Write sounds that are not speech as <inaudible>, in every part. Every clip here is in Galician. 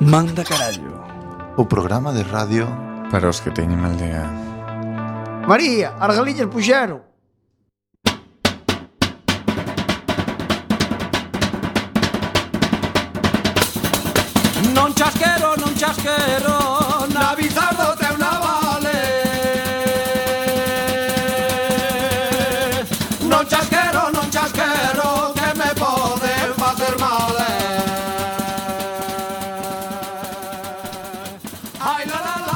Manda carallo O programa de radio Para os que teñen mal día María, as galiñas puxeron. Non chasquero, non chasquero, na bizardo te una vale. Non chasquero, non chasquero, que me poden facer mal. eh. Ai, la, la, la.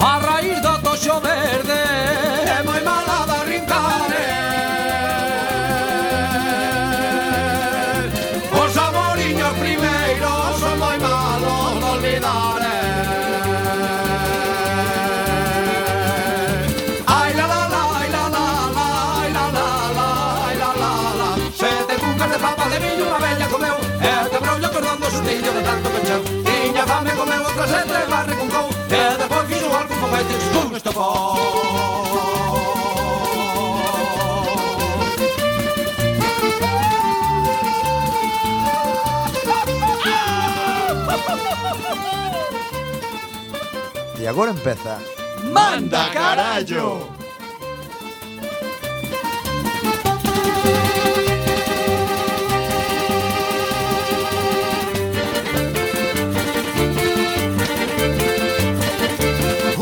A raíz do toxo verde É moi mala da rincare Os amoriños primeiros Son moi malos de olvidar eh. Ai la la la, ai la la la Ai la la la, ai la la la Sete cucas de papa de viño Unha bella comeu E te brollo cordando sustillo de tanto pecheu Tiña fame comeu outra sete Mas recuncou E depois fixo algún foguete Escum estopou E agora empeza Manda carallo.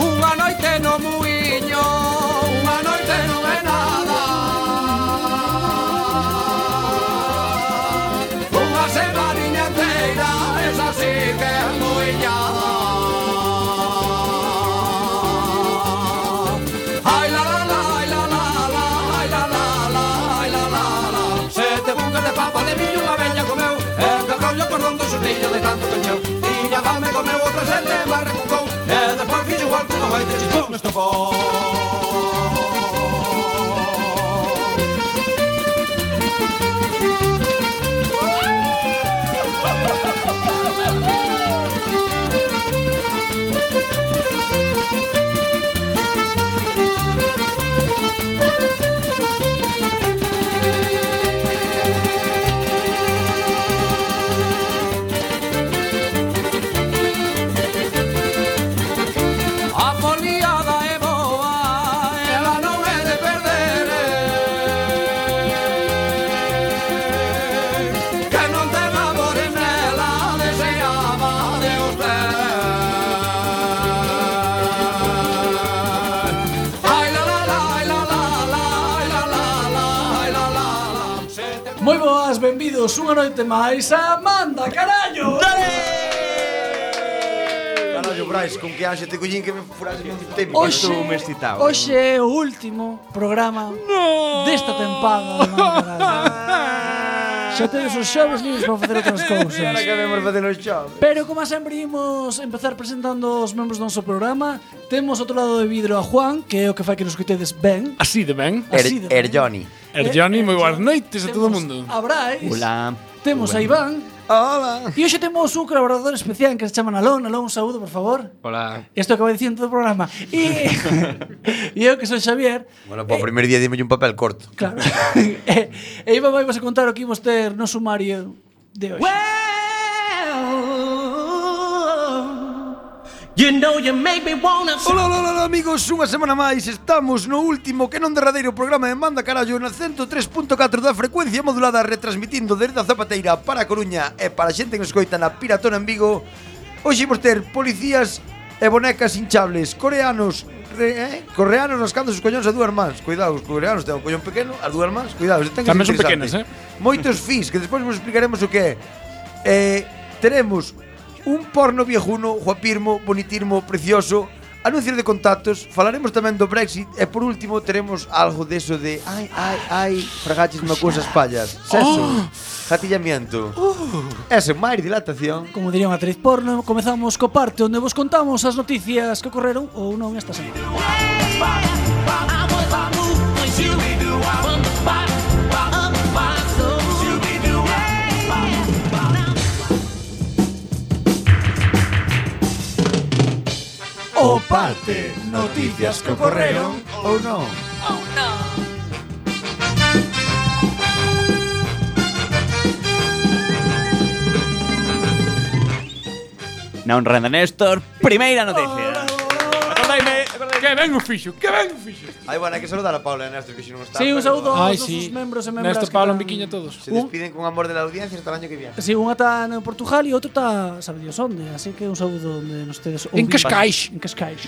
Unha noite no muiño, unha noite non é nada. Unha semaniña inteira, esa sí que é muiñada. Ai la la la, ai la la la, ai la la la, ai la la la. Sete bucas de papa de millo unha bella comeu, e que rollo cordón do xurrillo de tanto que encheu. Tiña fame comeu outra sete, mas recucou, e despois fixo igual Eh, que unha baita chispón estopou. A foliada é boa, ela non é de perder eh. Que non ten amores nela, deseaba de usted Ai la la la, ai la la la, ai la la la, ai la la la Se te Moi boas, benvidos unha noite máis a Manda carallo Carallo, Brais, con que anxe te collín que me furase un tempo Hoxe, Estou mes citado hoxe é o último programa desta tempada de <laughs> Mandarada. Xa tedes os xoves libres para facer outras cousas. Que vemos facer os xoves. Pero como sempre imos empezar presentando os membros do noso programa Temos outro lado de vidro a Juan, que é o que fai que nos coitedes ben Así de ben. así de Er, er ben. Johnny Erjoni, moi boas noites a todo o Temos mundo. A Brais Temos a Iván Hola. E hoxe temos un colaborador especial que se chama Nalón Nalón, un saúdo, por favor Hola. Isto acabo de dicir en todo o programa E, <laughs> e eu que son Xavier Bueno, para o primer día dime un papel corto Claro. <laughs> e, e Iba vai vos a contar o que imos ter no sumario de hoxe. Hola, hola, hola, amigos, unha semana máis Estamos no último que non derradeiro programa de Manda Carallo Na 103.4 da frecuencia modulada Retransmitindo desde a Zapateira para a Coruña E para a xente que nos coita na Piratona en Vigo Hoxe imos ter policías e bonecas hinchables Coreanos, re, eh? coreanos nos cantos os collóns a dúas mans Cuidado, os coreanos ten un collón pequeno, as dúas mans Cuidado, ten que ser Tamén son interesante. pequenas, eh? Moitos fins, que despois vos explicaremos o que é Eh, Teremos un porno viejuno, guapirmo, bonitirmo, precioso anuncios de contactos, falaremos tamén do Brexit e por último teremos algo deso de ai, ai, ai, fragaches me cousas pallas. Sexo, Oh! jatillamiento. E sen máis dilatación. Como diría unha actriz porno, comezamos co parte onde vos contamos as noticias que ocorreron ou non esta semana. O parte, noticias que ocorreron Ou non? Non renda Néstor, primeira Oh, noticia. Acordaime, que ben o fixo, que ben o fixo. Ai, bueno, hai que saludar a Paula e Néstor, que xe non está. Si, sí, un pero saúdo Ai, aos sí. nosos membros e membras Néstor, que Pablo, en están- biquiño todos. Se despiden con amor de la audiencia hasta el año que viene. Si, sí, unha está en Portugal e outro está, sabe Dios onde, así que un saúdo onde nos tedes En ouvindo. Cascais. En Cascais.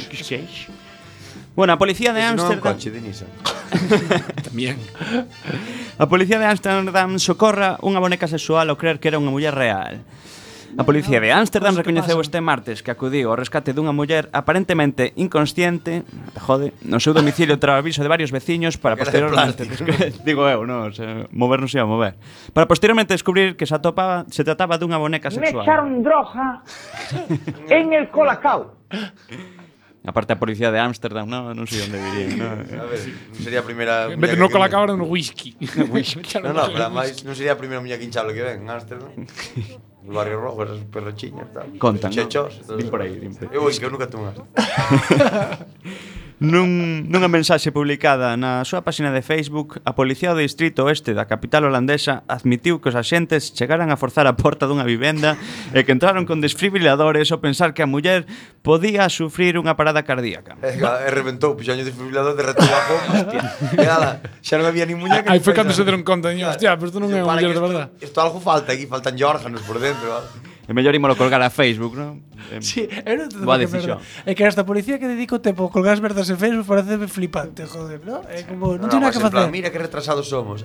Bueno, a policía de Ese non é un <laughs> Ámsterdam coche de Nissan. También. A policía de Ámsterdam socorra unha boneca sexual ao creer que era unha muller real. A policía de Ámsterdam Cosas que recoñeceu pasan. este martes que acudiu ao rescate dunha muller aparentemente inconsciente, jode, no seu domicilio tras o aviso de varios veciños para Porque era de posteriormente, <laughs> digo eu, non, se, mover non se ia mover. Para posteriormente descubrir que se atopaba, se trataba dunha boneca sexual. droga en el colacao. Aparte a policía de Ámsterdam, non, non sei onde virín, non. A ver, non sería a primeira... En muñeca vez de no que- cola cabra no <laughs> whisky. No, no, pero además non sería a primeira muñeca hinchable que ven en <laughs> Ámsterdam. El barrio rojo, esas perrochiñas, tal. Contan, non? Chechos. todo Din eso. por aí, din por aí. Eu, oi, que eu nunca tuve un Ámsterdam. Nun, nunha mensaxe publicada na súa páxina de Facebook, a policía do distrito oeste da capital holandesa admitiu que os axentes chegaran a forzar a porta dunha vivenda e que entraron con desfibriladores ao pensar que a muller podía sufrir unha parada cardíaca. E, e reventou, puxaño de fibrilador, derretou a bomba, hostia. E nada, xa non había ni muñeca. Aí ni foi cando se peza. deron conta, diño, hostia, pero isto non é unha Para que muller de isto- verdad. Isto algo falta aquí, faltan órganos por dentro, vale? É mellor ímolo colgar a Facebook, non? Eh, Sí, <laughs> eu non entendo Boa que decisión. merda. É que hasta a policía que dedico tempo a colgar as merdas en Facebook pareceme flipante, joder, ¿no? É como, non tiene nada mas que en plan, facer. Mira que retrasados somos.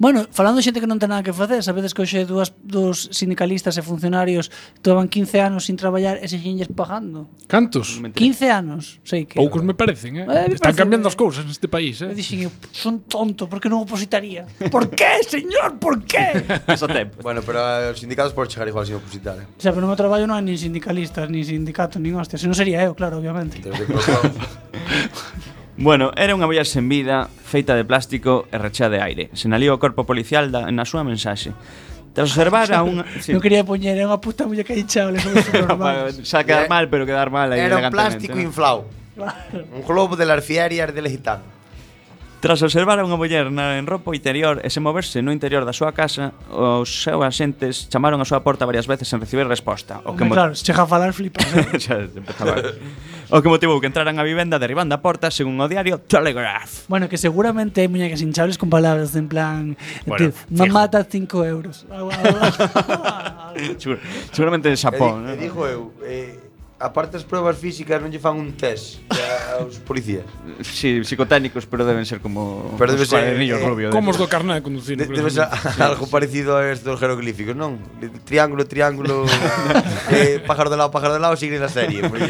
Bueno, falando de xente que non ten nada que facer, sabedes que hoxe dúas dos sindicalistas e funcionarios toman 15 anos sin traballar e se xinlles pagando. Cantos? 15 anos, sei que. Poucos me parecen, eh? Eh, me Están parece- cambiando as cousas neste país, Eu eh? dixen, eu son tonto, porque non opositaría. <laughs> Por qué, señor? Por qué? Eso tempo. bueno, pero eh, os sindicatos por chegar igual sin opositar, eh. O sea, pero no meu traballo non hai nin sindicalistas, nin sindicato, nin hostia. Se non sería eu, claro, obviamente. Desde que nos vamos. Bueno, era unha muller sen vida, feita de plástico e rechea de aire. Senaliu o corpo policial da, na súa mensaxe. Tras observar a <laughs> unha... Sí. Non <laughs> quería poñer, é unha puta muñeca hinchable, somos <laughs> supernormales. Xa quedar mal, pero quedar mal aí Era un elegantemente, plástico non? inflado. Un globo de las fierias <laughs> del gitano. Tras observar a unha muller na en roupa interior e se moverse no interior da súa casa, os seus axentes chamaron á súa porta varias veces sen recibir resposta. O Home, mo- claro, se chega a falar, flipas. eh. <laughs> Xa empezaba. o que motivou que entraran á vivenda derribando a porta, según o diario Telegraph. Bueno, que seguramente hay muñecas hinchables con palabras en plan. Bueno, te- mamá da 5 euros. <laughs> Algo- algo- Segur- Seguramente en Xapón. E, di- e non? dijo eu, eh, aparte as pruebas físicas non lle fan un test eh, aos policías. Sí, psicotécnicos, pero deben ser como Pero os debe ser, cuadernillos eh, rubios. Como os do carné de conducir. De, por debe ser <laughs> exemplo. algo parecido a estos jeroglíficos, non? De- Triángulo, triángulo, <laughs> eh, pájaro de lado, pájaro de lado, sigue na serie. Porque,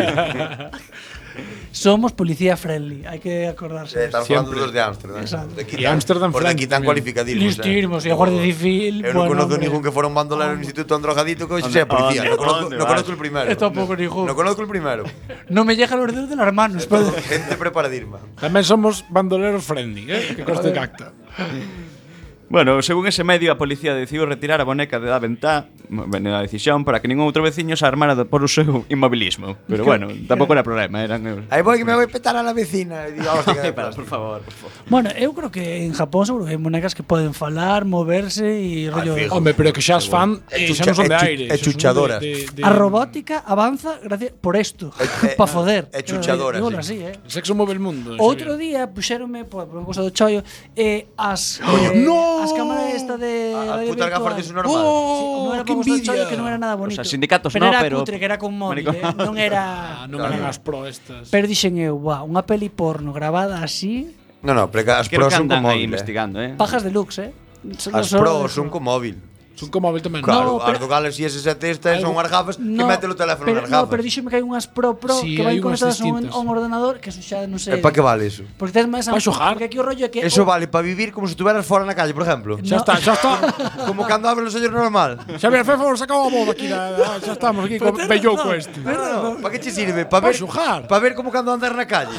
Somos policía friendly, hay que acordarse. eh, de eso. estamos falando dos de Ámsterdam. ¿eh? Exacto. De aquí E tan- Ámsterdam, Por de aquí tan Francia. cualificadísimos. eh. Listísimos, e a Guardia Civil, Eu non bueno, conozco hombre. ningún que fora un bandolero no instituto androjadito que hoxe sea ¿Dónde- policía. dónde- Non conozco, dónde non vas? conozco el primero. Eh, tampouco ningún. Non conozco el primero. No me llega el orden de las manos, pero. Todo <laughs> Gente preparadísima. Tamén somos bandoleros friendly, eh? Que coste que acta. Bueno, según ese medio, a policía decidiu retirar a boneca de da ventá na decisión para que ningún outro veciño se armara do- por o seu inmobilismo. Pero bueno, tampouco era problema, eran... eh, Aí voy que me voy a petar a la vecina. E digo, <laughs> hostia, que Para, por plástico. favor, por favor. Bueno, eu creo que en Japón seguro que hay muñecas que pueden falar, moverse y rollo. fijo. Home, pero que xa as fan, eh, É xa non chucha- son de é chu- aire. xa son é de- chuchadoras. de- de- A robótica avanza gracias por esto, <laughs> Eh, eh, para foder. eh, chuchadora, Digo, sí. así, O eh. sexo move el mundo. Outro Xavier. día puxéronme por por unha cousa do chollo eh, as eh, <gasps> no! as cámaras esta de As radio putas gafas virtual. de su normal. Sí, non era que para mostrar envidia. chollo que non era nada bonito. sea, sindicatos pero no, era pero- cutre, que era con móvil, Maricón. eh, non <laughs> Ah, era... non eran as pro estas. Pero dixen eu, "Buah, unha peli porno grabada así, No, no, pero que as Creo pros que son co andan aí móvil. eh. investigando, eh. pajas deluxe, eh. Solo- As solo pros dijo. son co móvil. Son como móvil tamén. Claro, as do Galaxy S7 estas son as gafas que mete o teléfono pero, nas no, pero gafas. díxeme que hai unhas Pro Pro Sí, que vai hai unhas conectadas a un, distintas. a un ordenador que eso xa non sei. E pa que vale eso? Porque tes máis Pa xogar. Porque aquí o rollo é que o- Eso vale para vivir como se estuveras fora na calle, por exemplo. Xa está, xa está. Como cando abres os ollos normal. Xavier Fefo sacou a moda aquí. da- da- Xa estamos aquí co bellouco este. No, ¿Para qué te sirve? Para Pa ver, xogar. pa ver como cando andas <laughs> na calle.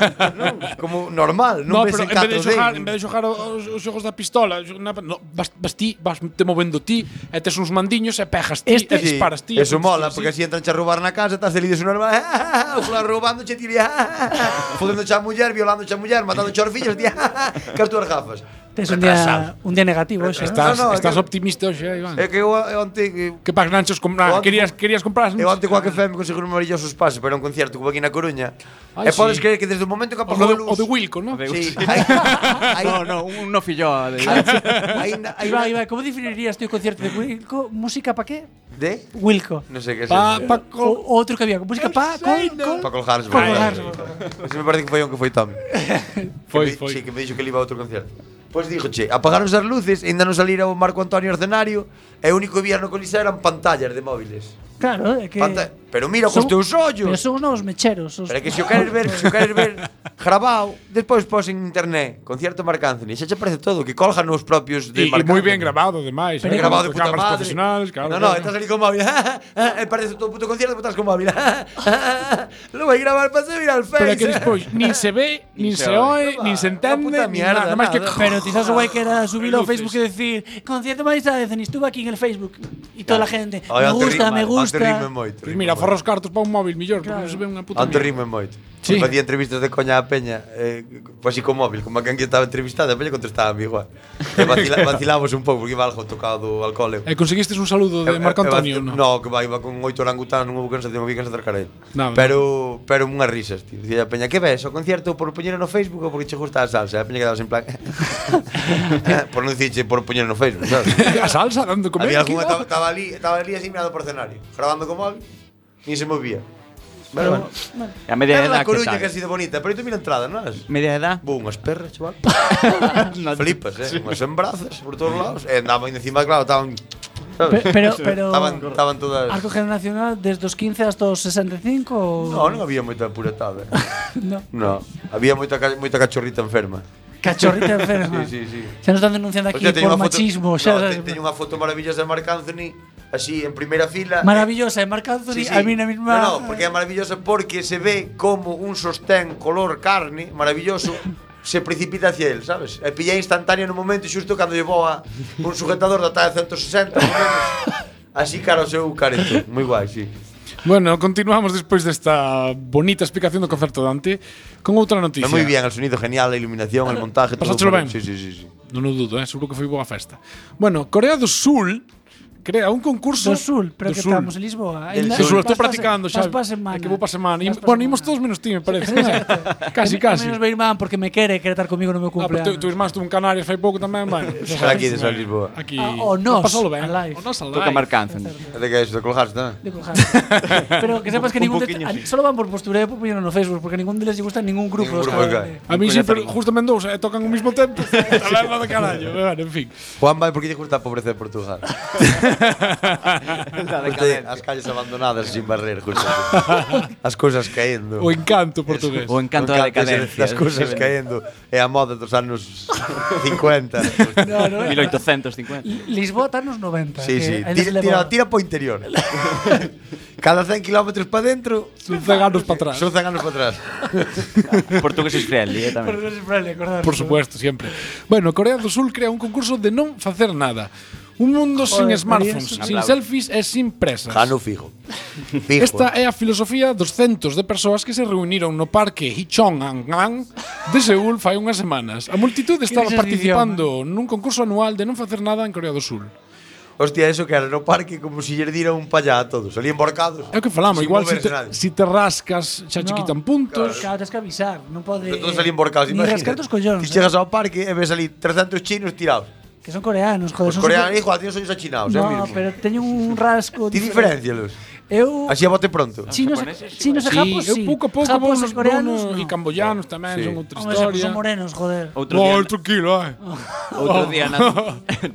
no, como normal, No, non ves pero en en vez de 4D. xogar, en vez de xogar os, os xogos da pistola, xo- na, no, vas, vas ti, vas te movendo ti, e tes uns mandiños e pegas ti, Este- e disparas ti. Eso e- mola, sí. porque así entran a roubar na casa, estás feliz de normal. <laughs> O fulano roubando, che tiri. <laughs> Fodendo a muller, violando a muller, matando a fillos, <laughs> tía. Cas túas gafas. tes un día un día negativo, ¿eh? xa. Estás, No, no, é estás que- Eh, optimista hoxe, Iván. <laughs> É que eu eu onte que pas nanchos comprar, Eu onte ah, querías querías comprar eu onte coa que FM conseguir un maravilloso espacio para un concierto que hubo aquí na Coruña. Ai, e sí. podes creer que desde o momento que o de, apagou a o luz. de Wilco, ¿no? Sí, <laughs> Ah, aí, aí, No, no, un no filloa de. Ainda, Iba, iba, como definirías tú o concerto de Wilco? Música pa qué? de Wilco. non sei que é Pa, eso. pa, co- O, outro que había, música pa col col. Para colgarse. Pa colgarse. Ese me parece que foi un que foi Tommy. Foi, que me- foi. Sí, que me dixo que ele iba a outro concierto. Pois dixo, che, apagaron as luces, ainda non salira o Marco Antonio ao escenario, e o único que vía no coliseo eran pantallas de móviles. Claro, é que Panta- Pero mira, Son- cos teus ollos. Pero son os novos mecheros. Os... Pero é que se o queres ver, se o queres ver grabado, despois pos en internet, concierto Marc Anthony, xa che parece todo, que colgan os propios Y, de Marc muy Anthony. bien grabado, además. Pero grabado de puta cámaras madre. profesionales, claro. No, no, claro. estás ali con móvil. <laughs> Eh, parece todo puto concierto, pero estás con móvil. <laughs> Lo voy a gravar para ser viral Pero é face. que despois <laughs> Eh, nin se ve, nin se oe, nin se entende, Unha puta nin nada, mierda, nada máis que nada. Pero tizás o guai que era subilo ao Luces. Facebook e decir Concierto Marisa de Zen, estuve aquí en el Facebook E toda a gente Me Ai, antes gusta, me rime- gusta Antes rime moito. Pues mira, forra os cartos para un móvil mellor, Claro. porque non se ve unha puta Antes mierda. rime moito. Sí. Sí. Facía entrevistas de coña a Peña, eh, pois así con móvil, como a quen que estaba entrevistada, a Peña contestaba a mí igual. E <laughs> vacila, vacilamos un pouco, porque iba algo tocado do alcohol. E conseguistes un saludo de Marco Antonio, no? non? No, que va, iba con oito orangutanos, non houve cansación, vi cansación cara Nada. Pero, pero unhas risas, tío. Dicía a Peña, que ves, o concierto por poñer no Facebook ou porque che gusta a salsa? E A Peña quedaba en plan... <laughs> por non dicirche por poñer no Facebook, sabes? <laughs> A salsa dando comer. Había aquí, alguna, ¿no? estaba ali, estaba ali así mirando por escenario, grabando con móvil, nin se movía. Pero, bueno. E A media Era la edad que Coruña tal. que ha sido bonita, pero tú mira a entrada, non es? Media edad. Bo, unhas perras, chaval. <laughs> No, Flipas, eh? Unhas embrazas por todos lados. E andaban encima, claro, estaban... Pe- sabes? Pero, pero <laughs> Estaban, estaban todas... Arco generacional desde os 15 hasta os 65 ou- No, non había moita puretada. ¿eh? <laughs> no. no, había moita, ca- moita cachorrita enferma. Cachorrita enferma <laughs> Sí, sí, sí. Xa nos están denunciando aquí Hostia, teño por unha foto- machismo no, xa te- Teño unha foto maravillosa de Marc Anthony, así, en primeira fila. Maravillosa, é Marc Sí, Anthony sí. A mí na misma No, no, porque é maravillosa porque se ve como un sostén color carne, <laughs> maravilloso, se precipita hacia él, sabes? E pilla instantáneo no momento xusto cando lle boa un sujetador da talla 160, por menos. Así cara o seu careto, moi guai, sí. Bueno, continuamos despois desta bonita explicación do concerto de Dante con outra noticia. Está moi bien, el sonido genial, a iluminación, el montaje, todo. Pasátelo ben. Sí, sí, sí, sí. Non o dudo, eh, seguro que foi boa festa. Bueno, Corea do Sul crea un concurso Do Sul, pero do que Sul. estamos en Lisboa Del Ainda- Do Sul, vas estou pa se- practicando xa. Vas pa É semana que vou pa semana. Im- Vas pa Bueno, imos semana. todos menos ti, me parece. E <laughs> casi, me- casi. Menos meu irmán porque me quere quere estar comigo no meu Ah, pero cumpleaños tu, tu irmán estuvo en Canarias fai pouco tamén, bueno. Será aquí de Sol Lisboa. Aquí. Ah, o nós, Pasalo ben. alive. O <laughs> nós alive. Toca Marc Anthony. É de que é iso de colgarse tamén. de cojar. <laughs> Pero que sepas que Un ningún de- poquinho, a- sí. Solo van por postura e por poñeron no Facebook porque ningún deles lle gusta ningún grupo. Ningún os grupo, cabrones. <laughs> A mí Un sí, coñazo pero rico. justamente dous, eh, tocan ao mesmo tempo. <laughs> <laughs> Taberna de carallo. Bueno, en fin. Juan vai porque lle gusta a pobreza de Portugal. Usted, as calles abandonadas sin barrer, justo. As cousas caendo. O encanto portugués. O encanto da decadencia. As cousas caendo. É a moda dos anos 50. No, no, 1850. Li- Lisboa está nos 90. sí, que sí. ainda se Tira, leva- tira, tira po interior. Cada 100 km para dentro, Son ceganos para atrás. son 100 anos para atrás. Portugueses friendly, eh, Pero tamén. non se prale, acordar. Por supuesto, siempre. Bueno, Corea do Sul crea un concurso de non facer nada. Un mundo sin Joder, smartphones, María, sin aplaudo. selfies e sin presas. Jano fijo. Fijo. Esta é a filosofía dos centos de persoas que se reuniron no parque Hichongangang de Seúl fai unhas semanas. A multitude estaba dices de participando eh? nun concurso anual de non facer nada en Corea do Sul. Hostia, eso que era no parque como se lle dira un payá a todos. Ali emborcados. É o que falamos, Sin Ah, igual se moverse te, nadie. si te rascas xa che No. quitan puntos. Claro, tens que avisar, non pode. Pero todos ali emborcados, Ni imagínate. rascar dos collóns, eh, Pues Ti chegas ao parque e ves ali 300 chinos tirados. que son coreanos, joder, Os son Pues coreanos, super- igual, tíos son achinados, é No, o mismo. pero teñen un rasgo Ti diferencialos. Eu Así a bote pronto. Chinos, e- chinos e japos, eu sí. pouco a pouco Japos vou e nos coreanos, coreanos, e no. camboyanos tamén, Sí. son outra Hombre, historia. son morenos, joder. Outro día, oh, tranquilo, eh. <laughs> outro <laughs> día na,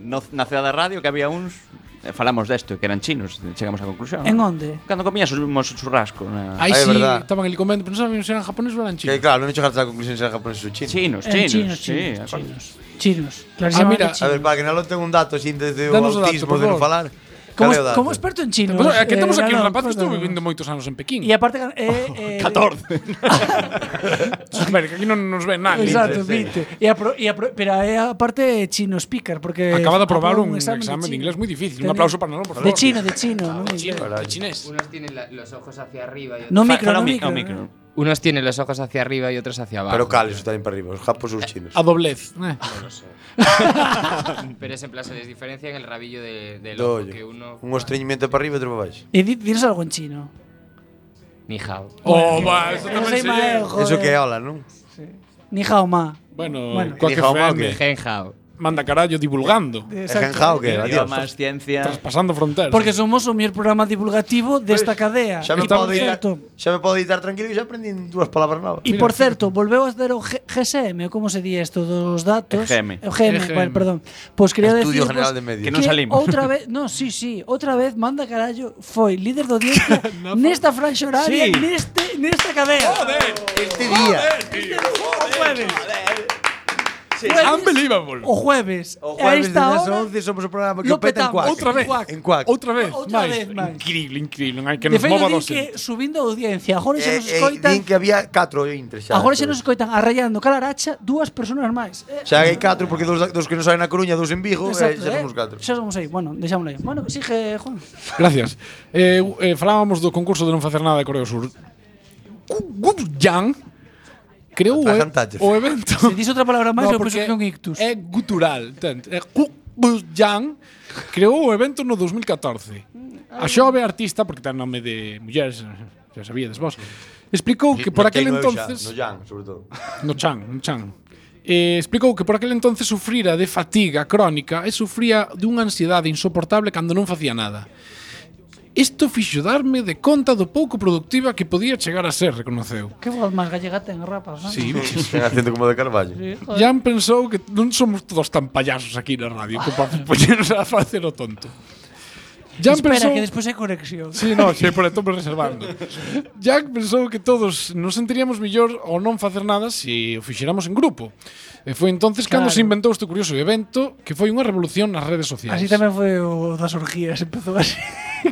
no, na cidade da radio que había uns eh, falamos desto, que eran chinos, chegamos á conclusión. En onde? Cando comías o mesmo churrasco na... Aí Ah, é sí, verdad. estaban ali comendo, pero non sabíamos se eran japoneses ou eran Que chinos. claro, non he chegado a la conclusión se era japonés ou chino. Chinos, Eh, chinos, chinos, sí, chinos, de acordo. chinos. Chinos, clarísimamente Ah, mira, a A chinos. ver, para que non ten un dato sin desde o Danos o dato, autismo por de non favor. falar. Como, Cal é o dato? como experto en chinos. Pues, eh, que temos eh, aquí un Galán, rapaz que estuvo cóntanos. vivindo moitos anos en Pekín. E aparte... <laughs> gan- <laughs> Eh, eh, <laughs> 14. A ver, que aquí non nos ven nada. Exacto, 20. E apro, e apro, pero é aparte chino speaker, porque... Acaba de aprobar aprobou un examen, de inglés moi difícil. Un Tenía- aplauso para Nalón, por favor. De chino, de chino, non De chino, inglés. de chinés. Unos tienen la- los ojos hacia arriba y otros... No Fa- micro, fala no mi- micro. ao ¿no? Unos tienen los ojos hacia arriba y otros hacia abajo. Pero cales tamén para arriba, os japos ou os chinos. A doblez. eh. <laughs> <laughs> Pero es en plan, se les diferencia en el rabillo de- del Do ojo, ollo. que uno... Un estreñimiento para arriba e outro para baixo. E di, dinos algo en chino. Ni hao. Oh, va, eso No tamén sei se ma, eh, lle. joder. Eso que é ola, non? Ni hao ma. Bueno, Bueno. coa que Dijo mal que- Gen FM, hao. manda carallo divulgando, É genjao que, adiós. Idiomas, ciencia... traspasando fronteras. Porque somos o mier programa divulgativo desta cadea. Xa E me por podo editar, certo- xa me podo editar tranquilo que xa aprendín dúas palabras novas. E por certo, volveu a hacer o G- GSM, como se di isto dos datos? EGM. O GM, EGM. bueno, perdón. Pois quería decir Estudio General de Medios. Que non salimos. <laughs> Outra vez, no, sí, sí, outra vez manda carallo foi líder do audiencia nesta franxa horaria, Sí. neste nesta cadea. Este día, o jueves. Unbelievable. O jueves. o a jueves de esta das hora, 11 somos o programa que lo o peta en petamos. cuac. Outra vez. En cuac. Outra vez, Outra máis. vez máis. Increíble, increíble. Non hai que de nos feito mova din dos. que subindo a audiencia, agora xa nos Eh, eh, escoitan. din que había 4 intres xa. Agora xa nos escoitan arraiando calaracha dúas persoas máis. Eh, Xa hai 4 porque dos, dos que non saen na Coruña, dos en Vigo, eh, Exacto, xa somos eh. 4. Xa somos aí. Bueno, deixámoslo aí. Bueno, sigue, Juan. Gracias. Eh, eh, falábamos do concurso de non facer nada de Corea do Sur. Yang creou o, Atragantalles. o evento. Se dis outra palabra máis, No, eu penso porque que é un ictus. É gutural. Tanto. É Yang creou o evento no 2014. A xove artista, porque ten nome de mulleres, xa sabíades vos, explicou que por No aquel Keino eu xa, entonces... No Yang, sobre todo. No Chan, no Chan. Eh, explicou que por aquel entonces sufrira de fatiga crónica e sufría dunha ansiedade insoportable cando non facía nada. Isto fixo darme de conta do pouco productiva que podía chegar a ser, reconoceu. Que voz máis gallega ten, rapaz, non? <laughs> Sí, Ten acento como de Carballo. Jan pensou que non somos todos tan payasos aquí na radio que <laughs> para poñernos a facer o tonto. Jan Espera, pensou... que despois hai conexión. Sí, no, xe, por estamos reservando. Jack pensou que todos nos sentiríamos mellor ao non facer nada se o fixéramos en grupo. E foi entonces cando Claro. se inventou este curioso evento que foi unha revolución nas redes sociais. <laughs> Así tamén foi o das orgías, empezou así.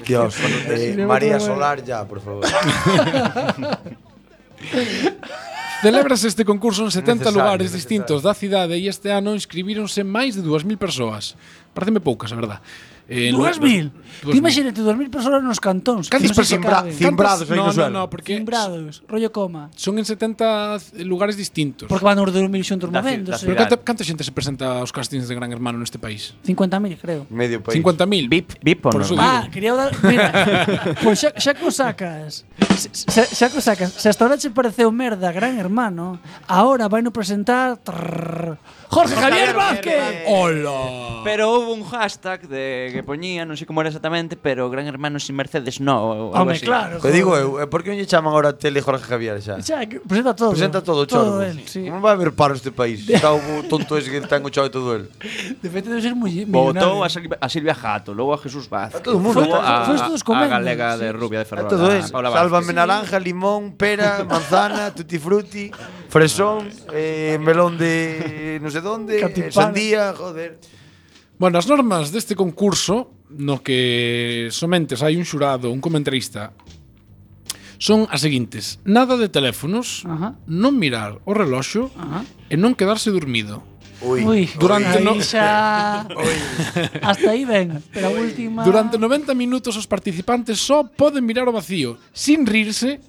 Dios, eh, no me María acuerdo. Solar <laughs> ya, por favor. <laughs> Celébrase este concurso en 70 Necesario, lugares necesario. distintos da cidade e este ano inscribíronse máis de 2.000 persoas. Pareceme poucas, a verdad. Eh, Dúas no- mil. Dúas mil. Ti imagínate, dúas mil persoas nos cantóns. que Cantas non se persoas? caben. Cim- Cimbrados aí no, no suelo. no, no, porque Cimbrados, rollo coma. son en 70 lugares distintos. Porque van os dormir xuntos Da ci- movéndose. Pero da canta, canta xente se presenta aos castings de Gran Hermano neste país? 50.000, creo. Medio país. 50.000. Vip, vip o Por non? su- Ah, quería dar. Mira, <laughs> pois xa, xa que o sacas. Xa, xa que o sacas. Se hasta ahora che pareceu merda, gran hermano, ahora vai no presentar. trrr, Jorge Javier Vázquez! Hola. Pero houve un hashtag de que poñía, non sei como era exactamente, pero Gran Hermano sin Mercedes no, ou algo Home, así. claro. Que joder. digo eu, eh, por que non lle chaman ahora tele Jorge Javier xa? Xa, que presenta todo. Presenta todo, todo chorro. él, sí. Como vai haber paro este <laughs> país? Está o tonto ese que ten o chavo todo el. De feito, debe ser moi Votou millonario. a, Silvia, a Silvia Jato, logo a Jesús Vázquez. todo o mundo. logo Foi- a, foi todos a comendo, galega sí. de Rubia de A Ferrol. todo es. a Paula Vázquez. Sálvame naranja, limón, <laughs> pera, manzana, tutti frutti, fresón, eh, melón de non sei donde, eh, Catipana. sandía, joder. Ah. Bueno, as normas deste concurso no que somente hai un xurado, un comentarista son as seguintes. Nada de teléfonos, Ajá. non mirar o reloxo Ajá. e non quedarse dormido. Ui. Ui, Durante aí no- <laughs> xa... Hasta aí ven, pero a última... Durante 90 minutos os participantes só poden mirar o vacío sin rirse,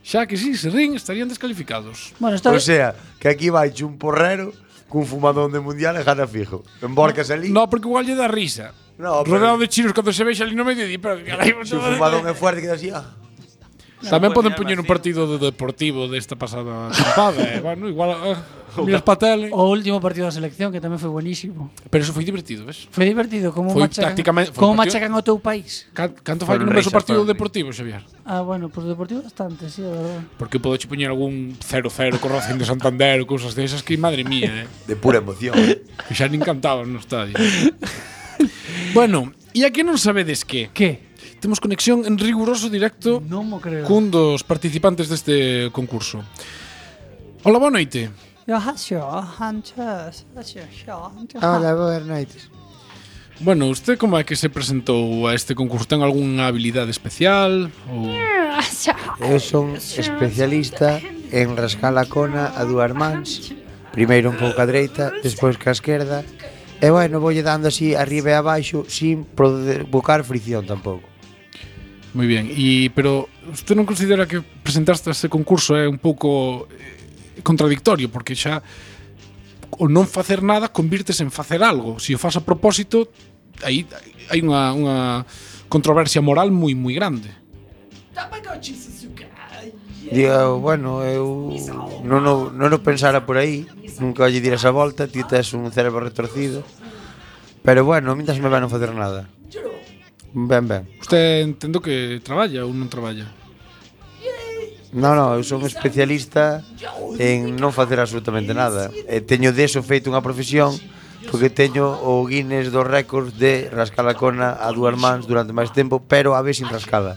xa que si se rin estarían descalificados. Bueno, está... O sea, que aquí vai un porrero cun fumadón de mundial e gana fijo. <laughs> Emborcas ali. No, porque igual lle dá risa. No, pero- Rodeado de chinos cando se vexe ali no medio di, pero carai, Se o fumadón é fuerte que así, ah. Tamén Claro, poden mirar poñer un vacío. <laughs> partido de deportivo desta pasada tempada, eh? bueno, igual eh, Miras pa tele. O último partido da selección, que tamén foi buenísimo. Pero eso foi divertido, ves? Foi divertido, como Foi machacan, tácticamente- foi como un partido- machacan o teu país. Canto fai que non ves o partido deportivo, Xavier? Ah, bueno, pues deportivo bastante, sí, a verdad. Porque podo che poñer algún 0-0 co Racing de Santander ou cousas desas que, madre mía, eh. De pura emoción. Que xa nin cantaban no estadio. bueno, e a que non sabedes que? Que? Temos conexión en riguroso directo non mo creo. cun dos participantes deste concurso. Hola, boa noite. Ah, Hola, boas noites. Bueno, usted como é que se presentou a este concurso? Ten algunha habilidade especial? Ou... Eu son especialista en rascar a cona a dúas mans Primeiro un pouco a dereita, despois ca esquerda E bueno, voulle dando así arriba e abaixo sin provocar fricción tampouco Moi ben. E pero usted non considera que presentaste a este concurso é un pouco eh, contradictorio porque xa o non facer nada convirtes en facer algo. Se o fas a propósito, aí hai unha unha controversia moral moi moi grande. Digo, bueno, eu non o, non o pensara por aí Nunca lle diras a volta, ti tes un cerebro retorcido Pero bueno, mintas me van a facer nada Ben, ben Usted entendo que traballa ou non traballa. No, no, eu son especialista en non facer absolutamente nada. E teño deso feito unha profesión porque teño o Guinness dos récords de rascar a cona a dúas mans durante máis tempo, pero a vez sin rascada.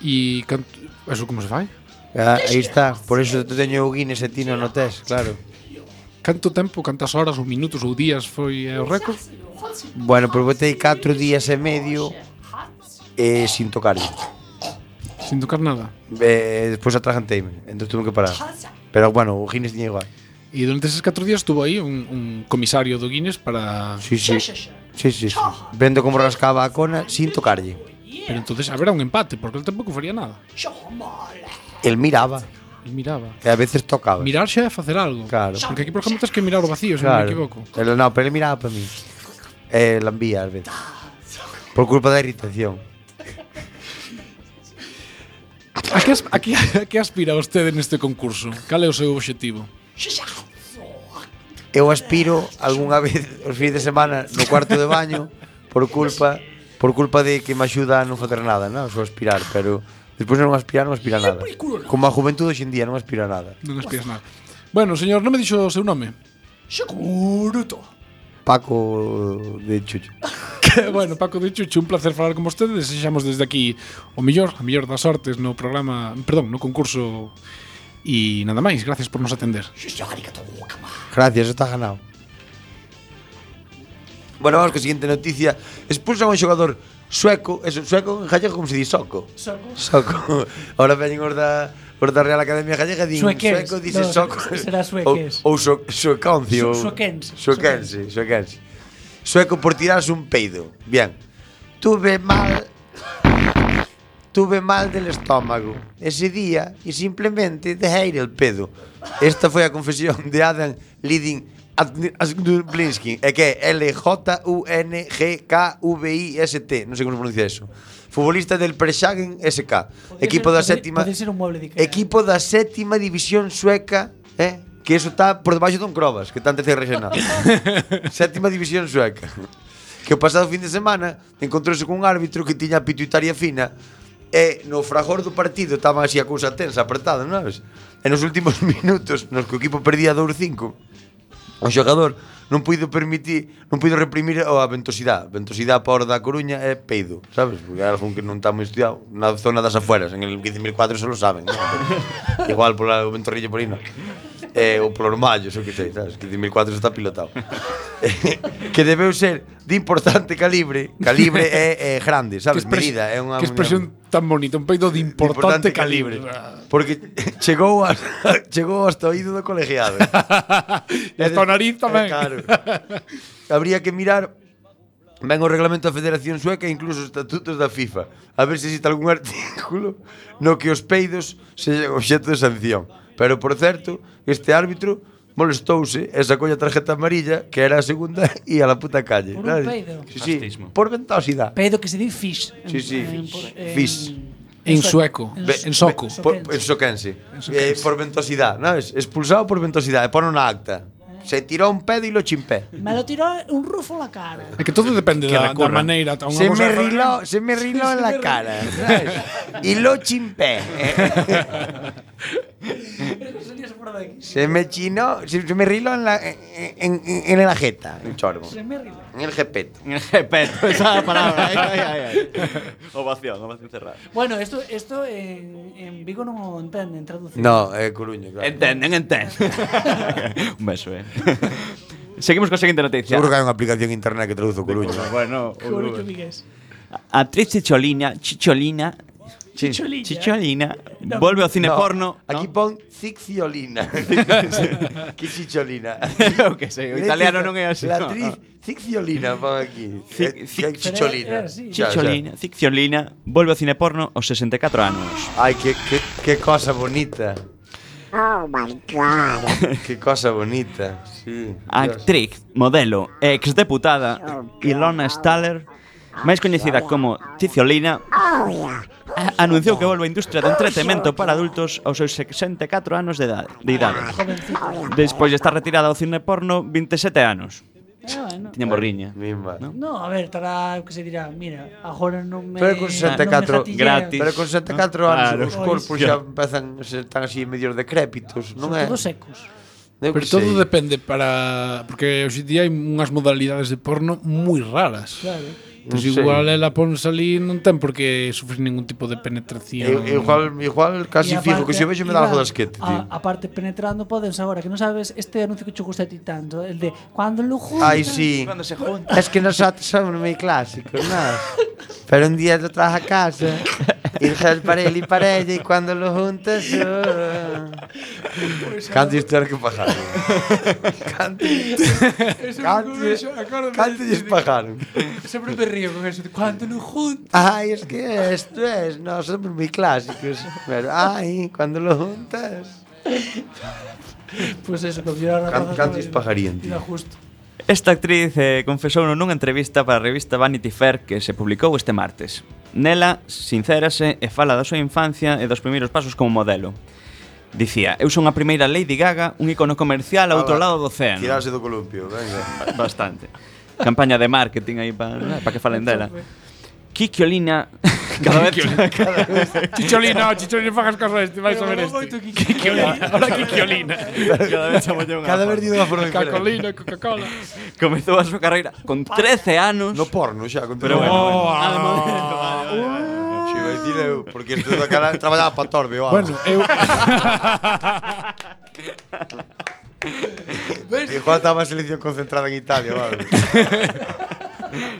E canto, eso como se fai? Ah, aí está, por eso te teño o Guinness e ti non o tes, claro. Canto tempo, cantas horas ou minutos ou días foi eh, o récord? Bueno, pois botei 4 días e medio e sin tocar. Sin tocar nada. Eh, despois atraganteime, entón tuve que parar. Pero bueno, o Guinness tiña igual. E durante eses 4 días estuvo aí un, un comisario do Guinness para Sí, sí. Sí, sí, sí. Vendo como rascaba a cona sin tocarlle. Pero entonces habrá un empate, porque él tampoco faría nada. El miraba. Él miraba. Que a veces tocaba. Mirar xa é facer algo. Claro. Porque aquí, por ejemplo, tens que mirar o vacío, se non me equivoco. El, no, pero él miraba para mí. Eh, la envía a veces. Por culpa da irritación. A que, as, a, que, a que aspira usted neste concurso? Cal é o seu objetivo? Eu aspiro algunha vez <laughs> os fins de semana no cuarto de baño por culpa por culpa de que me axuda a non facer nada, non? Só aspirar, pero despois non aspirar, non aspira nada. Como a juventude hoxe en día non aspira nada. Non aspiras nada. Bueno, señor, non me dixo o seu nome. Xacuruto. Paco de Chucho. Que, bueno, Paco de Chucho, un placer falar con vostede. Desexamos desde aquí o mellor, a mellor das sortes no programa, perdón, no concurso e nada máis. Gracias por nos atender. Gracias, está ganado. Bueno, vamos con a siguiente noticia. Expulsan a un xogador sueco, es sueco en gallego como se di soco. Soco. Soco. <laughs> Ahora veñen os da os da Real Academia Gallega din Suequers. sueco dice No, soco. será sueques. <laughs> Ou, ou so, sueconci. Su- ou- suequense, Suequense, suequense. Sueco por tirarse un peido. Bien. Tuve mal Tuve mal del estómago ese día e simplemente dejei el pedo. Esta foi a confesión de Adam Lidin Blinsky, é que é L-J-U-N-G-K-V-I-S-T, non sei como se pronuncia eso. Futbolista del Preshagen SK, equipo da séptima Pode ser un mueble de Ikea. equipo da séptima división sueca, eh? Que eso está por debaixo dun Crobas, que está en terceira regional. séptima división sueca. Que o pasado fin de semana encontrouse cun árbitro que tiña a pituitaria fina e no fragor do partido estaban así a cousa tensa, apertada, non sabes? E nos últimos <laughs> minutos, nos que o equipo perdía 2-5, o xogador non puido permitir, non puido reprimir a ventosidade. Ventosidade por da Coruña é peido, sabes? Porque é algo que non está moi estudiado na zona das afueras, en el 15004 só lo saben, non? Pero <laughs> Igual por o ventorrillo por aí non. Eh, ou por Ormallo, xo que sei, sabes? 15004 está pilotado. <laughs> Eh, que debeu ser de importante calibre. Calibre é, é grande, sabes? Que expres- Medida, é unha Que expresión tan bonita, un peido de importante, importante calibre. calibre. Porque <laughs> chegou a, <laughs> chegou hasta o oído do colegiado. eh. e hasta o nariz tamén. eh, claro. Habría que mirar ben o reglamento da Federación Sueca e incluso os estatutos da FIFA. A ver se existe algún <laughs> artículo no que os peidos sexan obxecto de sanción. Pero, por certo, este árbitro molestouse e sacou a tarjeta amarilla que era a segunda <laughs> e a la puta calle. Por un ¿sabes? peido. Sí, sí, por ventosidade. Peido que se di fish. Sí, sí, En- fish. en- Fish. En sueco. Ve- En soco. ve- por- En soquense. Eh, por ventosidad, ¿sabes? Expulsado por ventosidad. E pone una acta. Se tiró un pedo y lo chimpé. Me lo tiró un rufo a la <laughs> cara. É que todo depende Que da, da recorran. maneira. Unha Se cosa me é- riló, se me riló en la cara. ¿sabes? Y lo chimpé. Se me chinó, se, se me riló en la, en, en, en la jeta, el chorbo. Se me riló. En el jepeto. En el jepeto, esa <laughs> é a palabra. Ay, ay, ay, ay. <laughs> Ovación, ovación cerrada. Bueno, isto isto en, en Vigo non o entenden traducido. No, é eh, Coruña, claro. Entenden, entenden. <laughs> Un beso, eh. <laughs> Seguimos coa seguinte noticia. Seguro que hai unha aplicación interna que traduzo Coruña. Bueno, Coruño vigués. a actriz Chicholina, Chicholina, Chicholina. Chicholina volve ao cine No, porno. Aquí pon <laughs> Zicciolina. que chicholina. Eu que sei, o italiano non é así. La no. actriz Zicciolina pon aquí. Zic- Eh, zic- que chicholina. Pero é así. Xa, xa. Chicholina, Zicciolina volve ao cine porno aos 64 anos. Ay, que, que, que cosa bonita. Oh my god. que cosa bonita. Sí. A actriz, modelo e exdeputada Ilona Staller, máis coñecida como Ticiolina, a- anunciou que volve á industria do entretemento para adultos aos seus 64 anos de idade. De idade. Despois de estar retirada ao cine porno, 27 anos. Ah, bueno. Tiña morriña. Misma. No? No, a ver, estará que se dirá, mira, agora non me Pero con 64 non me gatillean. gratis. Pero con 64 anos Claro. os corpos xa empezan se están así medio decrépitos, non Son é? todos secos. Eu Pero que todo sei. depende para... Porque hoxe día hai unhas modalidades de porno moi raras. Claro. Entón, Non sei. igual ela ponse ali non ten por que sufrir ningún tipo de penetración. Eu- igual, igual E casi fijo que aparte, se o vexo me dá Iván, algo das que te a- Aparte, penetrando, podes agora, que non sabes este anuncio que che gusta a ti tanto, el de cuando lo juntas. Ai, sí. Cando se junta. Es que nosotros somos moi clásicos, ¿no? Pero un día lo traes a casa y dejas para él y para ella y cuando lo juntas... Oh. Canto historias que pajaron. Canto, <laughs> canto, canto y pajaron. Sempre me río con eso. Cuando nos juntan. Ay, es que esto es, no, somos muy clásicos. Pero, ay, cuando lo juntas... Pues eso, confiar a Can- rapaza cantos tamén. pajarían, tío. Tira justo. Esta actriz eh, confesou nunha entrevista para a revista Vanity Fair que se publicou este martes. Nela sincérase e fala da súa infancia e dos primeiros pasos como modelo. Dicía, eu son a primeira Lady Gaga, un icono comercial ao outro Ah, va. lado do océano. Tirarse do columpio, venga. <laughs> Bastante. Campaña de marketing aí para pa que falen dela. <laughs> Kikiolina cada <laughs> vez Chicholina, Chicholina, fagas caso a este, vais a ver este. <laughs> Kikiolina, ahora Kikiolina. cada vez chamolle unha Cada vez forma. digo unha forma diferente. Cacolina, Coca-Cola. Comezou a súa carreira con 13 anos. No porno xa, con Pero todo. bueno, Oh, Si, vai dicir eu, porque este da cara traballaba para Torbe, o Bueno, bueno. eu... <laughs> E Juan estaba a selección concentrada en Italia, vale.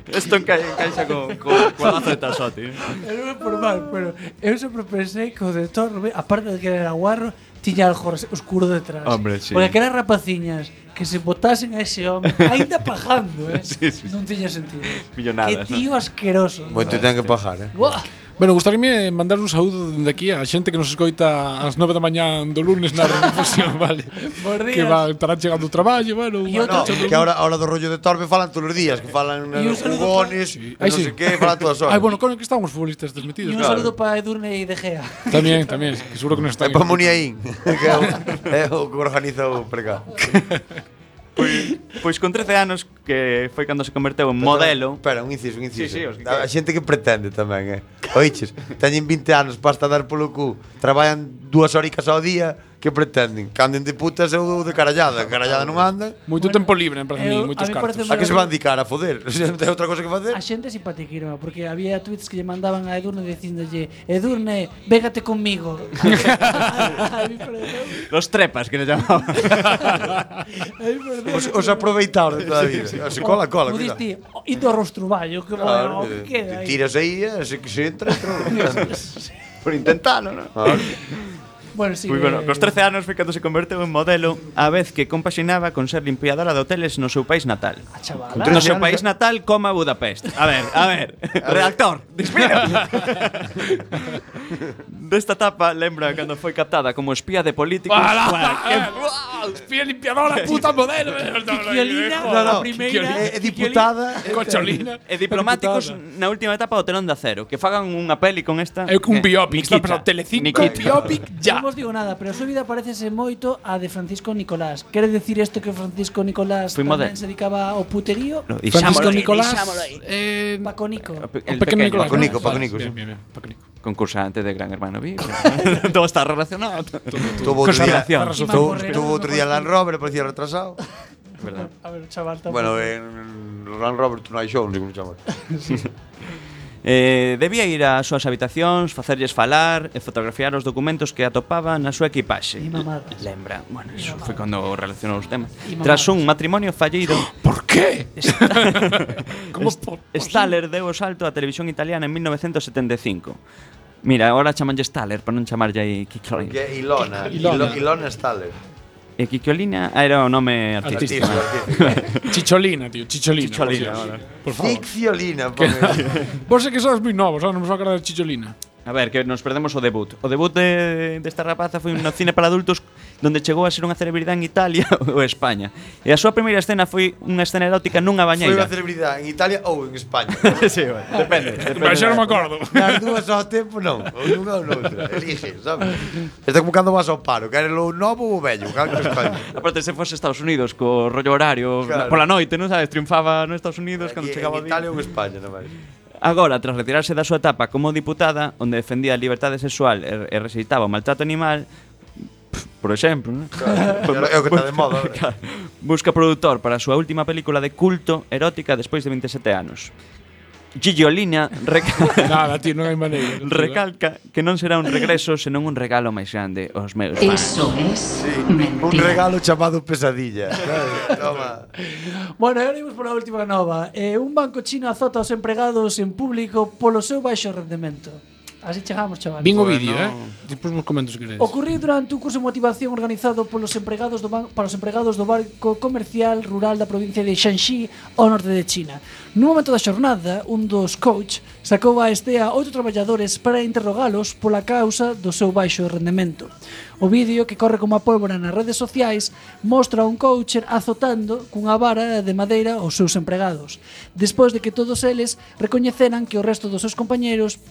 Esto enca encaixa con, con, con lazo de tasote. eh. Eu non é por mal, pero eu sempre pensei que o de Torbe, aparte de que era guarro, tiña algo res- oscuro detrás. Hombre, sí. Porque aquelas rapaciñas que se botasen a ese home, ainda pajando, eh? <laughs> Sí, sí. non tiña sentido. Que Millonadas, tío asqueroso. Bueno, Pois te ten que pajar, eh. Buah. Bueno, gustaríame mandar un saúdo dende aquí a xente que nos escoita ás 9 da mañán do lunes na refusión, <laughs> vale? Bos días. que va, estarán chegando o traballo, bueno... E bueno, No, outro- que ahora, ahora do rollo de Torbe falan todos os días, que falan un nos saludo jugones, Ai, non sí. sei que, falan todas as Ai, horas. bueno, con que están os futbolistas E desmetidos, un claro. saludo para Edurne e De Gea. Tamén, tamén, que seguro que non É están. para Muniaín, <laughs> que é o, é o que organiza o precá. <laughs> Pois, pois con 13 anos que foi cando se converteu en modelo. Espera, un inciso, un inciso. Sí, sí, os que a, a xente que pretende tamén, eh. Oiches, teñen 20 anos para estar a dar polo cu, traballan dúas horicas ao día, que pretenden? Canden de putas ou de carallada, carallada non andan. Moito tempo libre, en plan, Eu- a moitos mí cartos. pareceme- A que se van dedicar a foder? <laughs> O sea, non ten outra cosa que facer? A xente simpatiquírama, porque había tweets que lle mandaban a Edurne dicindolle Edurne, végate <laughs> conmigo. a mí pareceu- Los trepas que le chamaban. a mí pareceu- Os, os aproveitados de toda a vida. Se cola, cola, Como cuidado. diste, indo ao rostruballo, que bueno, Claro, que eh, queda aí. <laughs> tiras aí, eh, se que se entra, entra. Por intentalo, ¿no? Claro. <laughs> Bueno, sí. Moi bueno, eh, cos 13 anos foi cando se converteu en modelo a vez que compaxinaba con ser limpiadora de hoteles no seu país natal. Ah, chaval. No seu país natal, coma Budapest. A ver, a ver. Redactor, <laughs> despida. Desta etapa lembra cando foi captada como espía de políticos. ¡Para! ¡Espía limpiadora, puta modelo! eh. <laughs> Kikiolina, Joder. a primeira. É diputada. <laughs> Cocholina. E diplomáticos na última etapa do telón de acero Que fagan unha peli con esta É Eh, un biopic, está Nikita, para Telecinco, Nikita. biopic ya. Ya. Non vos digo nada, pero a súa vida parecese moito a de Francisco Nicolás. Quere decir isto que Francisco Nicolás Foi tamén modelo. se dedicaba ao puterío? No, dixámolo, Francisco eh, Nicolás. dixámolo. Eh, Paco Nico. o El pequeño pequeño, Nicolás. Paco Nico, Vale, Paco Nico, bien, sí. bien, bien, Paco Nico. Concursante de Gran Hermano <laughs> Vivo <laughs> Todo está relacionado Tuvo otro día, Conservación Imán tuvo, Correa, tuvo no otro día consigo. Land Rover, parecía retrasado. A ver, chaval, tampouco. bueno, eh, en Land Rover Tonight Show, non sei como se chama. <laughs> eh, Debía ir ás súas habitacións Facerlles falar E fotografiar os documentos que atopaba na súa equipaxe E mamadas. Lembra Bueno, iso foi cando relacionou os temas E mamadas. Tras un matrimonio fallido <gasps> ¿Por qué? ¿Cómo por? Staller deu o salto á televisión italiana en 1975 Mira, agora chamanlle Staller Para non chamarlle aí Kikolina Que é Ilona, Ilona. Ilona, Ilona eh. Staller. E Kikolina Eh, Ah, era o nome artístico Artista, artista. <laughs> Chicholina, eh, tío, Chicholina. Chicholina, por vale. cierto. Por favor. Dicciolina, pone. <laughs> Vos sé que sois muy novos, ahora nos va a acordar de Chicholina. <laughs> A ver, que nos perdemos o debut. O debut de, desta rapaza foi no cine para adultos donde chegou a ser unha celebridade en Italia <laughs> ou España. E a súa primeira escena foi unha escena erótica nunha Foi unha bañeira. celebridade en Italia ou en España. <laughs> sí, bueno, depende. depende Pero xa non me da- acordo. Nas dúas ao tempo non, ou nunha ou noutra. Elige, sabes? Está como cando vas ao paro, queres o novo ou o vello, cando España. Aparte, se fose Estados Unidos co rollo horario Claro. claro. pola noite, non sabes? Triunfaba nos Estados Unidos cando Aquí, chegaba o en día. Italia ou en España, non máis. Agora, tras retirarse da súa etapa como diputada, onde defendía a liberdade sexual e, e rexeitaba o maltrato animal, pf, por exemplo, non? Claro, é o que está de <laughs> moda ahora. Claro. Busca produtor para a súa última película de culto erótica despois de 27 anos. Gigiolina reca <laughs> Nada, tío, non hai maneira. recalca que non será un regreso, senón un regalo máis grande aos meus fans. Eso es Sí, mentira. un regalo chamado pesadilla. Sabes? Toma. Bueno, e agora imos pola última nova. Eh, un banco chino azota aos empregados en público polo seu baixo rendemento. Así chegamos, chaval. Vin o vídeo, eh? Despois vos comento se queredes. Ocurriu durante un curso de motivación organizado polos empregados do ban- para os empregados do barco comercial rural da provincia de Shanxi ao norte de China. No momento da xornada, un dos coach sacou a este a oito traballadores para interrogalos pola causa do seu baixo rendemento. O vídeo, que corre como a pólvora nas redes sociais, mostra a un coacher azotando cunha vara de madeira os seus empregados, despois de que todos eles recoñeceran que o resto dos seus compañeros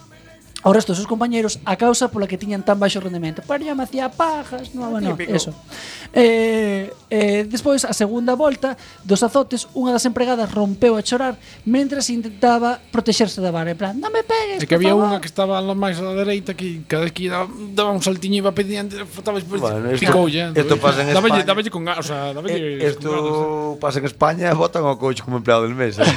ao resto dos seus compañeiros a causa pola que tiñan tan baixo rendemento. Pero eu me hacía pajas, no, bueno, eso. Eh, eh, despois, a segunda volta dos azotes, unha das empregadas rompeu a chorar mentres intentaba protexerse da vara, en plan, non me pegues, É que por había favor". unha que estaba lá máis á dereita que cada vez que daba, daba un saltiño iba pedindo, faltaba despois Bueno, esto- picoulle. esto pasa en dáballe, España. Eh, dáballe con, ga- o sea, dáballe con ganas. Isto pasa en España, <laughs> votan ao coach como empleado del mes. eh.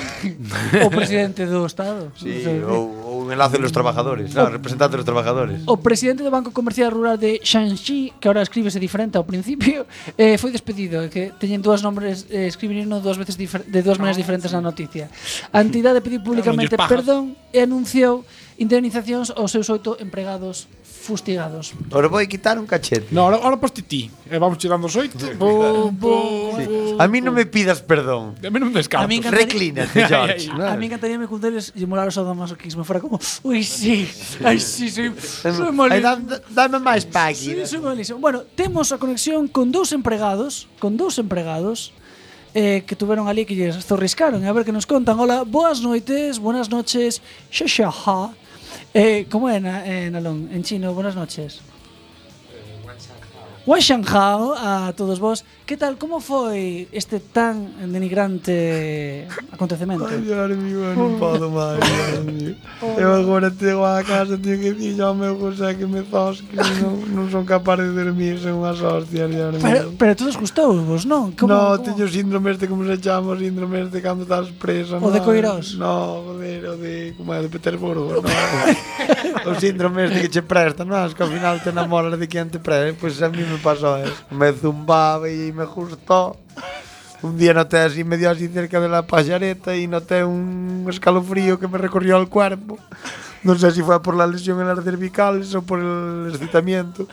o presidente do Estado. Sí, non sei. ou, ou un enlace de los trabajadores, no, representante de los trabajadores. O presidente do Banco Comercial Rural de Shanxi, que ahora escríbese diferente ao principio, <laughs> eh, foi despedido, e que teñen dúas nombres eh, escribirino dúas veces difer- de dúas maneras diferentes na noticia. A entidade pediu publicamente Claro, non lles pajas. perdón e anunciou indemnizacións aos seus oito empregados fustigados. Os vou quitar un cachete. No, ahora, ahora poste ti. Eh, vamos tirando os oito. Bo, bo, bo. A mí non me pidas perdón. A mí non me descarto. A mí encantaría- <laughs> Reclínate, George. A mí encantaría me cundeles e morar o sadomasoquismo. Fora como, ui, sí, ai, sí, sí, soy Ai, malísimo. dá- dá- Em, Dame máis Sí, páginas. soy malísimo. Bueno, temos a conexión con dous empregados, con dous empregados eh, que tuveron ali que lles zorriscaron. E A ver que nos contan. Hola, boas noites, buenas noches. Xa xa xa. Eh, como é na, en alón, en chino, buenas noches. Wan Shanghao a todos vos. Que tal, como foi este tan denigrante acontecemento? Dios mío, non podo máis. Dios mío. Eu agora chego á casa, teño que dicir ao meu José que me zos que non, non son capaz de dormir, son unhas hostias, Dios Pero, pero todos gustou vos, non? Como, no, como- teño síndrome este, como se chama, o síndrome este cando estás presa. O de Coirós. No, joder, o de, como é, de Petersburgo. <laughs> No. o síndrome este que che presta, no, es que ao final te enamoras de quen te presta. Pois pues a mí me pasó eso. Me zumbaba e me gustó. Un día noté así medio así cerca de la pajareta y noté un escalofrío que me recorrió el cuerpo. No sé si fue por la lesión en las cervicales o por el excitamiento.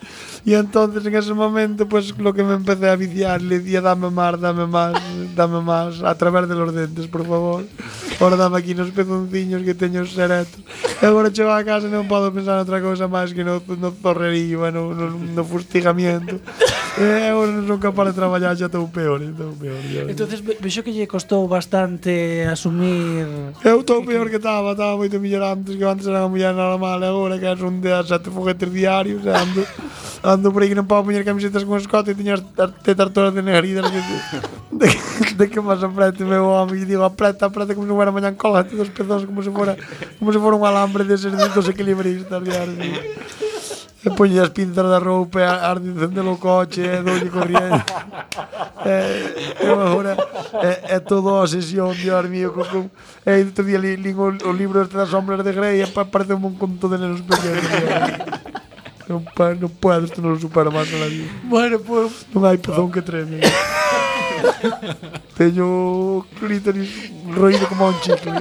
Y entonces en ese momento, pues lo que me empecé a viciar, le decía, dame más, dame más, dame más, a través de los dentes, por favor. Ahora dame aquí unos pezonciños que teño os erectos. E agora chego a casa e non podo pensar outra cousa máis que no, no zorrerío, e no, no, no fustigamiento. E agora non son capaz de traballar xa estou peor, estou peor. xa. Entonces ve- vexo que lle costou bastante asumir Eu estou peor que estaba, estaba moito mellor antes, que eu antes era unha muller normal, e agora que son de sete foguetes diarios, e ando, ando por aí que non podo poñer camisetas con escote e teño as tar- tetas todas de negridas que, de, de que máis aprete meu home, e digo, apreta, apreta como se fuera mañan cola, dos pezóns como se fuera, como se fuera un alambre de ser dos equilibristas, diario. E poñe as pinzas da roupa, e ar de encender o coche, e doulle corriente. É, eu agora eh, é, é toda a obsesión, Dios mío. Co, co, é, outro día li, li o, o libro este das sombras de Grey e pa, parece un conto de nenos pequenos. non, pa, non podo, isto non lo supero máis na vida. Bueno, pues... Non hai <laughs> pezón que treme. Teño o clítoris roído como un chicle.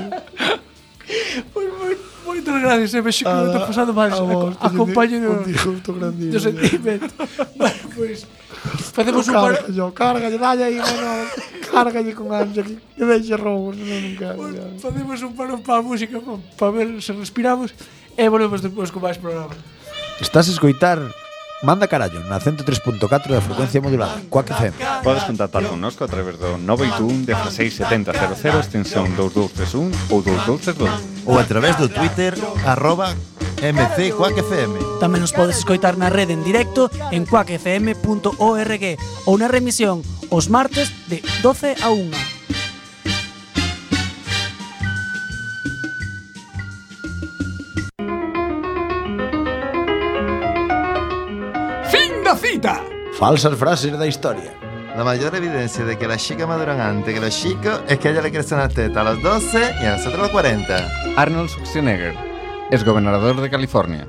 Moitas gracias, eh, vexo que Ah, non te pasando máis. a vos, teño Acompaño un disgusto grandísimo. do sentimento. bueno, pois... Facemos un par... Cárgallo, cárgallo, dalle aí, bueno, cárgallo con ansia, que, que deixe roubos, non nunca. Facemos un paro para a música, para ver se respiramos, e volvemos depois con máis programa. Estás a escoitar Manda Carallo na 103.4 da frecuencia modulada, Quack FM. Podes contactar connosco a través do 921 167000 extensión 2231 ou 2232. ou a través do Twitter arroba mcquackfm. Tamén nos podes escoitar na rede en directo en cuacfm.org ou na remisión os martes de 12 a 1. Fin da cita. Falsas frases da historia. La mayor evidencia de que las chicas maduran antes que los chicos es que a ella le crecen las tetas a los 12 y a nosotros a los 40. Arnold Schwarzenegger es gobernador de California.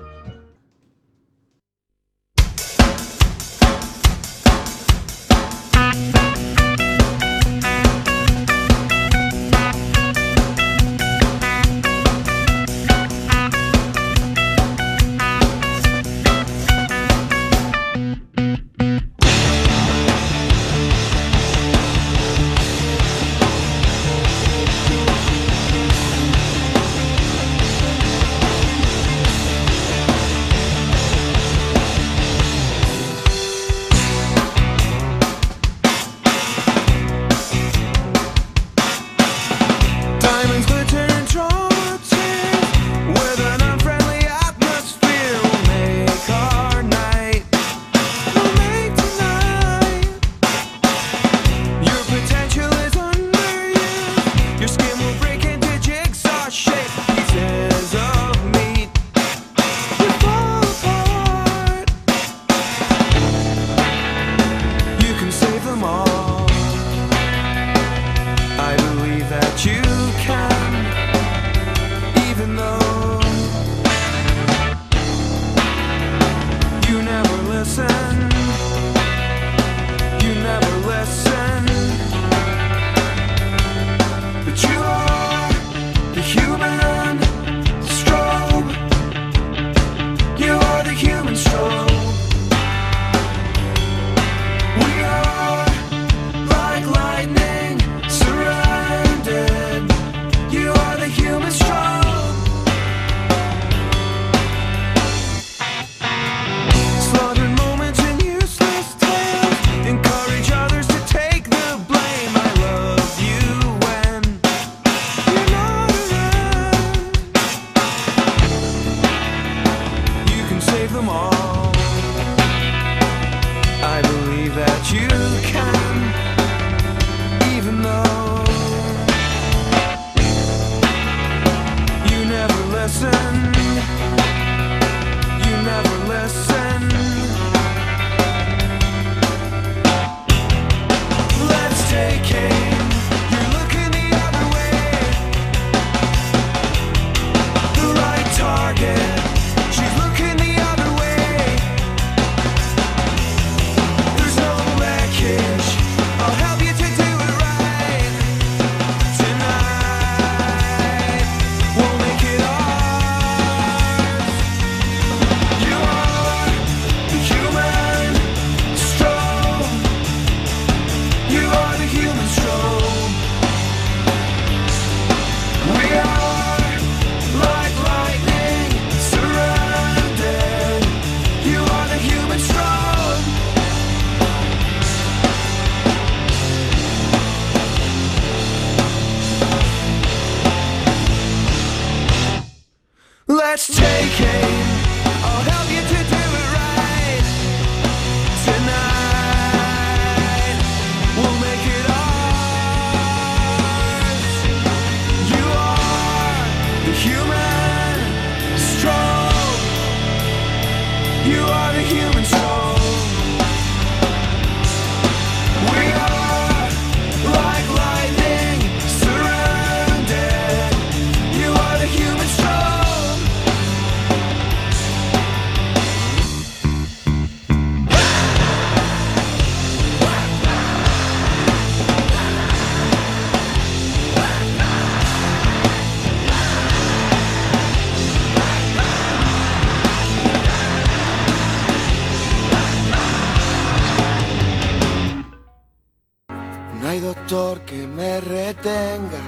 No hay doctor que me retenga.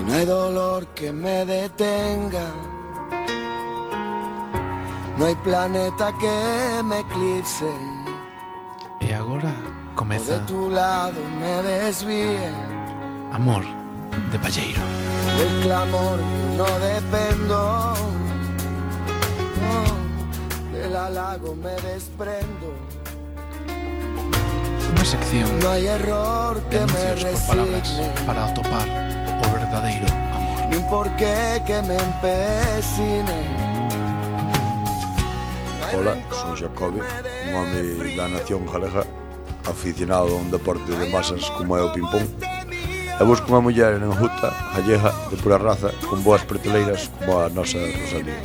Y no hay dolor que me detenga. No hay planeta que me eclipse. E agora O de comeza tu lado me desvíe. Amor de Palleiro. Del clamor no dependo. No, del halago me desprendo. Unha sección No hay error de que me anuncios por palabras resigne. para atopar o verdadeiro amor. ni un porqué que me empecine. Ola, son Xacobe, un home da nación galega aficionado a un deporte de masas como é o ping-pong. E busco unha muller en Juta, gallega, de pura raza, con boas pretoleiras como a nosa Rosalía.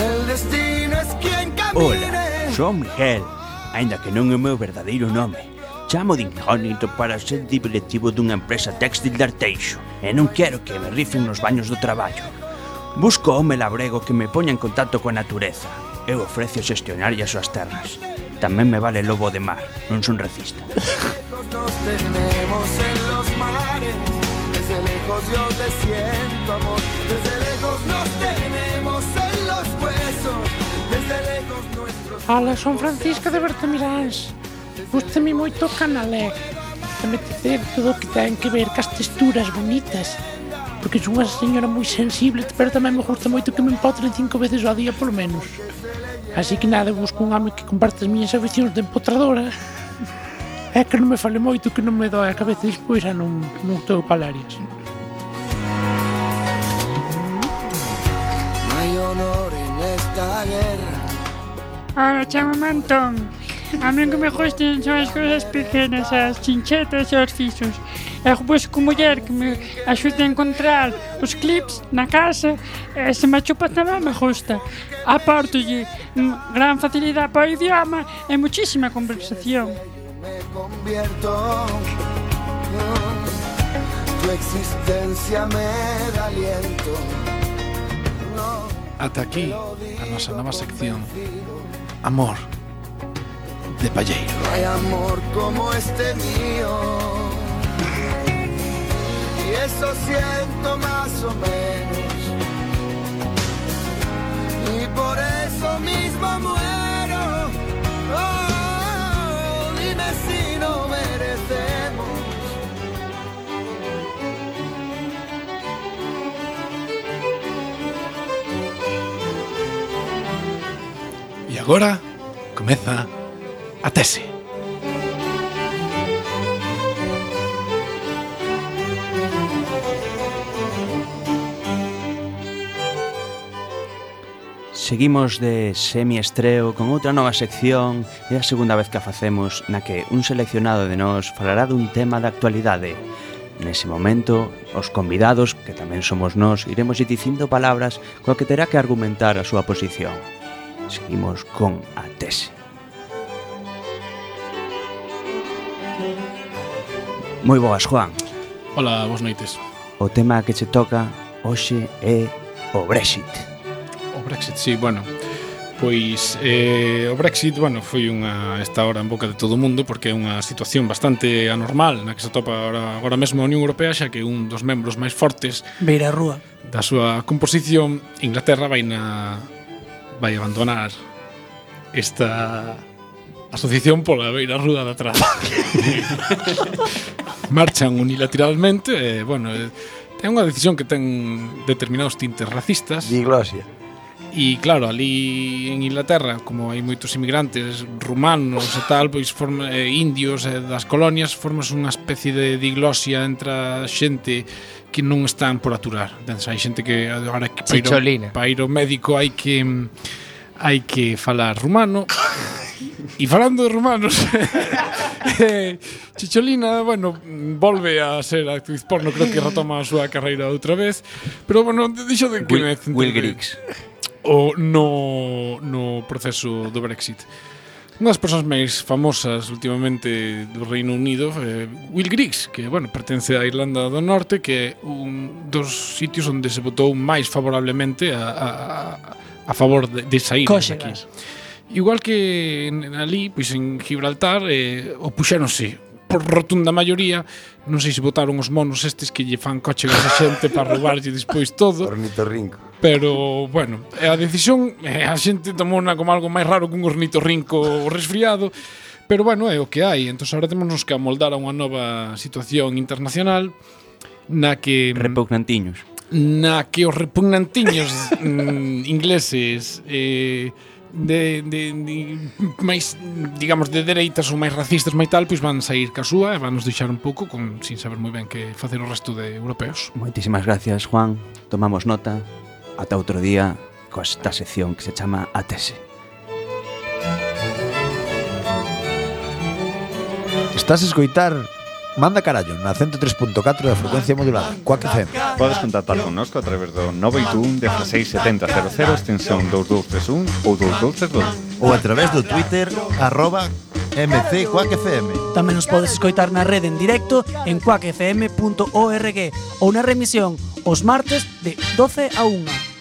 El destino es quien Ola, camine. son Miguel, aínda que non é o meu verdadeiro nome. Chamo de incógnito para ser directivo dunha empresa textil de Arteixo e non quero que me rifen nos baños do traballo. Busco home labrego que me poña en contacto coa natureza. Eu ofrecio xestionar as súas terras. Tamén me vale lobo de mar, non son racista. Nos tenemos en los mares. Desde lejos yo te siento amor. Desde lejos nos tenemos en los huesos. Desde lejos nuestros. Ola, son Francisco de Bertamiráns Gústame moito o Canalec Dame tecer todo o que ten que ver cas texturas bonitas Porque son unha señora moi sensible Pero tamén me gusta moito que me empotren cinco veces ao día polo menos Así que nada, busco un home que comparte as miñas aficións de empotradora É que non me fale moito, que non me doe a cabeza despois a non, non estou palarias No hay honor en esta guerra. Ahora chamo Mantón. A mí o que me gustan son as cousas pequenas, as chinchetas e os fixos. E busco muller que me axude a encontrar os clips na casa e se me chupa tamén me gusta. Aportolle mm, gran facilidade para o idioma e muchísima conversación. Convierto. mm, Tu existencia me da aliento. Ata aquí a nosa nova sección Amor de Palleiro. No hay amor como este mío. Y eso siento más o menos. Y por eso mismo muero. Oh, dime si no merecemos. E agora comeza a tese. Seguimos de semiestreo con outra nova sección e a segunda vez que a facemos na que un seleccionado de nós falará dun tema da actualidade. Nese momento, os convidados, que tamén somos nós, iremos dicindo palabras coa que terá que argumentar a súa posición. Seguimos con a tese. Moi boas, Juan. Ola, boas noites. O tema que che toca hoxe é o Brexit. O Brexit, sí, bueno. Pois eh, o Brexit, bueno, foi unha esta hora en boca de todo o mundo porque é unha situación bastante anormal na que se atopa agora, agora mesmo a Unión Europea xa que un dos membros máis fortes Beira a rúa. da súa composición Inglaterra vai na vai abandonar esta asociación pola beira ruda de <laughs> atrás. Marchan unilateralmente, e, bueno, eh, é unha decisión que ten determinados tintes racistas. Diglosia. E claro, ali en Inglaterra, como hai moitos imigrantes rumanos e tal, pois forma, eh, indios eh, das colonias, formas unha especie de diglosia entre a xente que non están por aturar. Entonces, hai xente que agora que para ir, Chicholina. ao- para ir ao médico hai que mm, hai que falar rumano. E falando de rumanos, <laughs> eh, Chicholina, bueno, volve a ser actriz porno, creo que retoma a súa carreira outra vez, pero bueno, deixo de que Will- me centre- Will Griggs. o no, no proceso do Brexit. Unha das persoas máis famosas últimamente do Reino Unido é Will Griggs, que bueno, pertence á Irlanda do Norte, que é un dos sitios onde se votou máis favorablemente a, a, a- a favor de, de sair de aquí. Cóxegas. Igual que en, en Alí, pois en Gibraltar eh, opuxéronse por rotunda maioría, non sei se votaron os monos estes que lle fan coche a esa xente para roubarlle despois todo. Ornitorrinco. Pero, bueno, eh, a decisión eh, a xente tomou-na como algo máis raro que un ornitorrinco resfriado, pero bueno, é o que hai. Entón, agora temos que amoldar a unha nova situación internacional na que Repugnantiños. na que os repugnantiños mm, ingleses eh, de, de, de máis, digamos, de dereitas ou máis racistas máis tal, pois van sair ca súa e van nos deixar un pouco con, sin saber moi ben que facer o resto de europeos. Moitísimas gracias, Juan. Tomamos nota. Ata outro día coa esta sección que se chama A Tese. Estás a escoitar Manda Carallo na 103.4 da frecuencia modulada Coac FM Podes contactar connosco a través do 921 167000 extensión 2231 ou 2232 ou a través do Twitter arroba MC Quack FM. Tamén nos podes escoitar na rede en directo en cuacfm.org ou na remisión os martes de 12 a 1.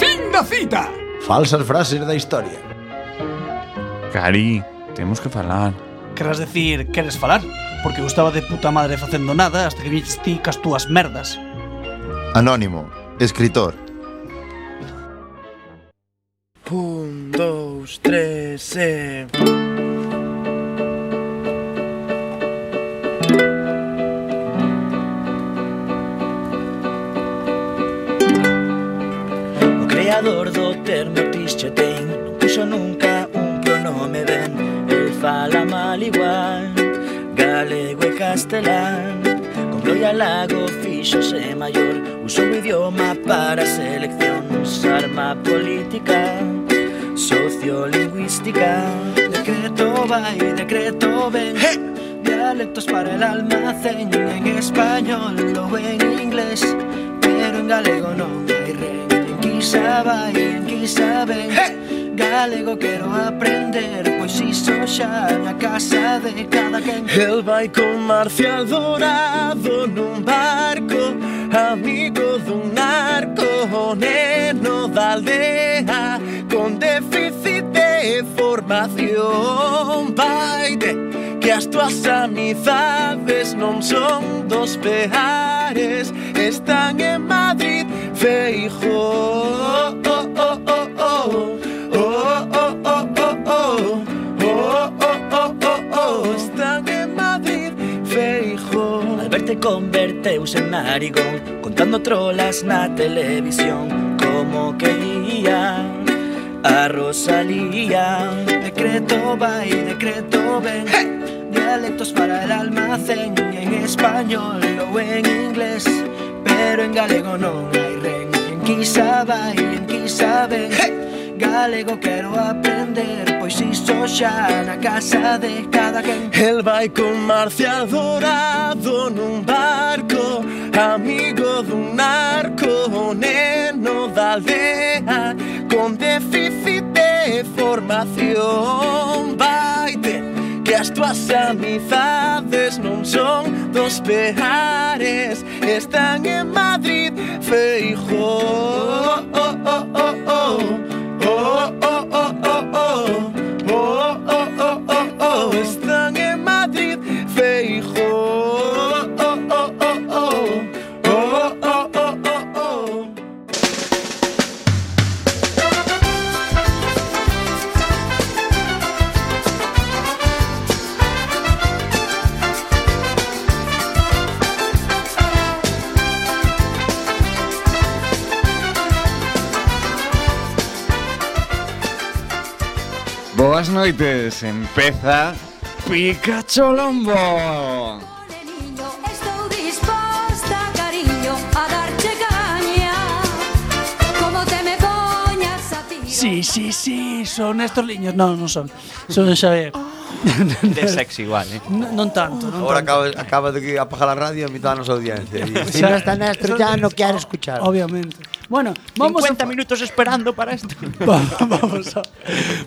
Fin da cita. Falsas frases da historia Cari, temos que falar. Querrás decir, queres falar? Porque eu estaba de puta madre facendo nada hasta que viches ti cas túas merdas. Anónimo, escritor. Un, dous, tres e... O creador do termo Tischotein non puxo nunca un pronome ben El fala mal igual, galego e castelán Con gloria lago fixose maior Usou o idioma para a selección Arma política, sociolingüística Decreto va y decreto ven Dialectos para el almacén En español o en inglés Pero en galego non hai rey Quizá vai, quizá ven Galego quero aprender pues Pois iso xa na casa de cada quen El vai con Marcial Dorado nun barco Amigo dun narco O neno da aldea Con déficit de formación Vai de que as tuas amizades Non son dos peares Están en Madrid Feijóo oh, oh, oh, oh, oh, oh, oh, oh, oh. Oh, oh, oh, oh, oh. Están en Madrid, Feijóo Alberte converteuse en narigón Contando trolas na televisión Como quería a Rosalía Decreto va y decreto ven Dialectos para el almacén En español o en inglés Pero en galego non hai ren En quizá vai, en quizá ven Galego quero aprender Pois iso xa na casa de cada quen El vai con Marcial Dorado nun barco Amigo dun narco O neno da aldea Con déficit de formación Vaite que as tuas amizades non son dos peares Están en Madrid, Feijóo oh, oh, oh, oh. Oh, oh, oh, oh, oh. Oh, oh, oh, oh, oh. Están en Madrid, Feijóo Oh, oh, oh, oh. Oh, oh, oh, oh, oh. Boas noites, empeza Pikachu Lombo Estou disposta, cariño, a darche caña Como te me poñas a ti Sí, sí, sí, son Néstor Liños. Non, non son. Son <laughs> Xavier. <laughs> De sexy igual, eh? Non non tanto, non Ahora tanto. <laughs> acaba, acaba de que apagar a radio a mitad da nosa audiencia. Si non está Néstor, ya no quiero escuchar. Obviamente. Bueno, vamos a... 50 minutos esperando para <laughs> esto. vamos a...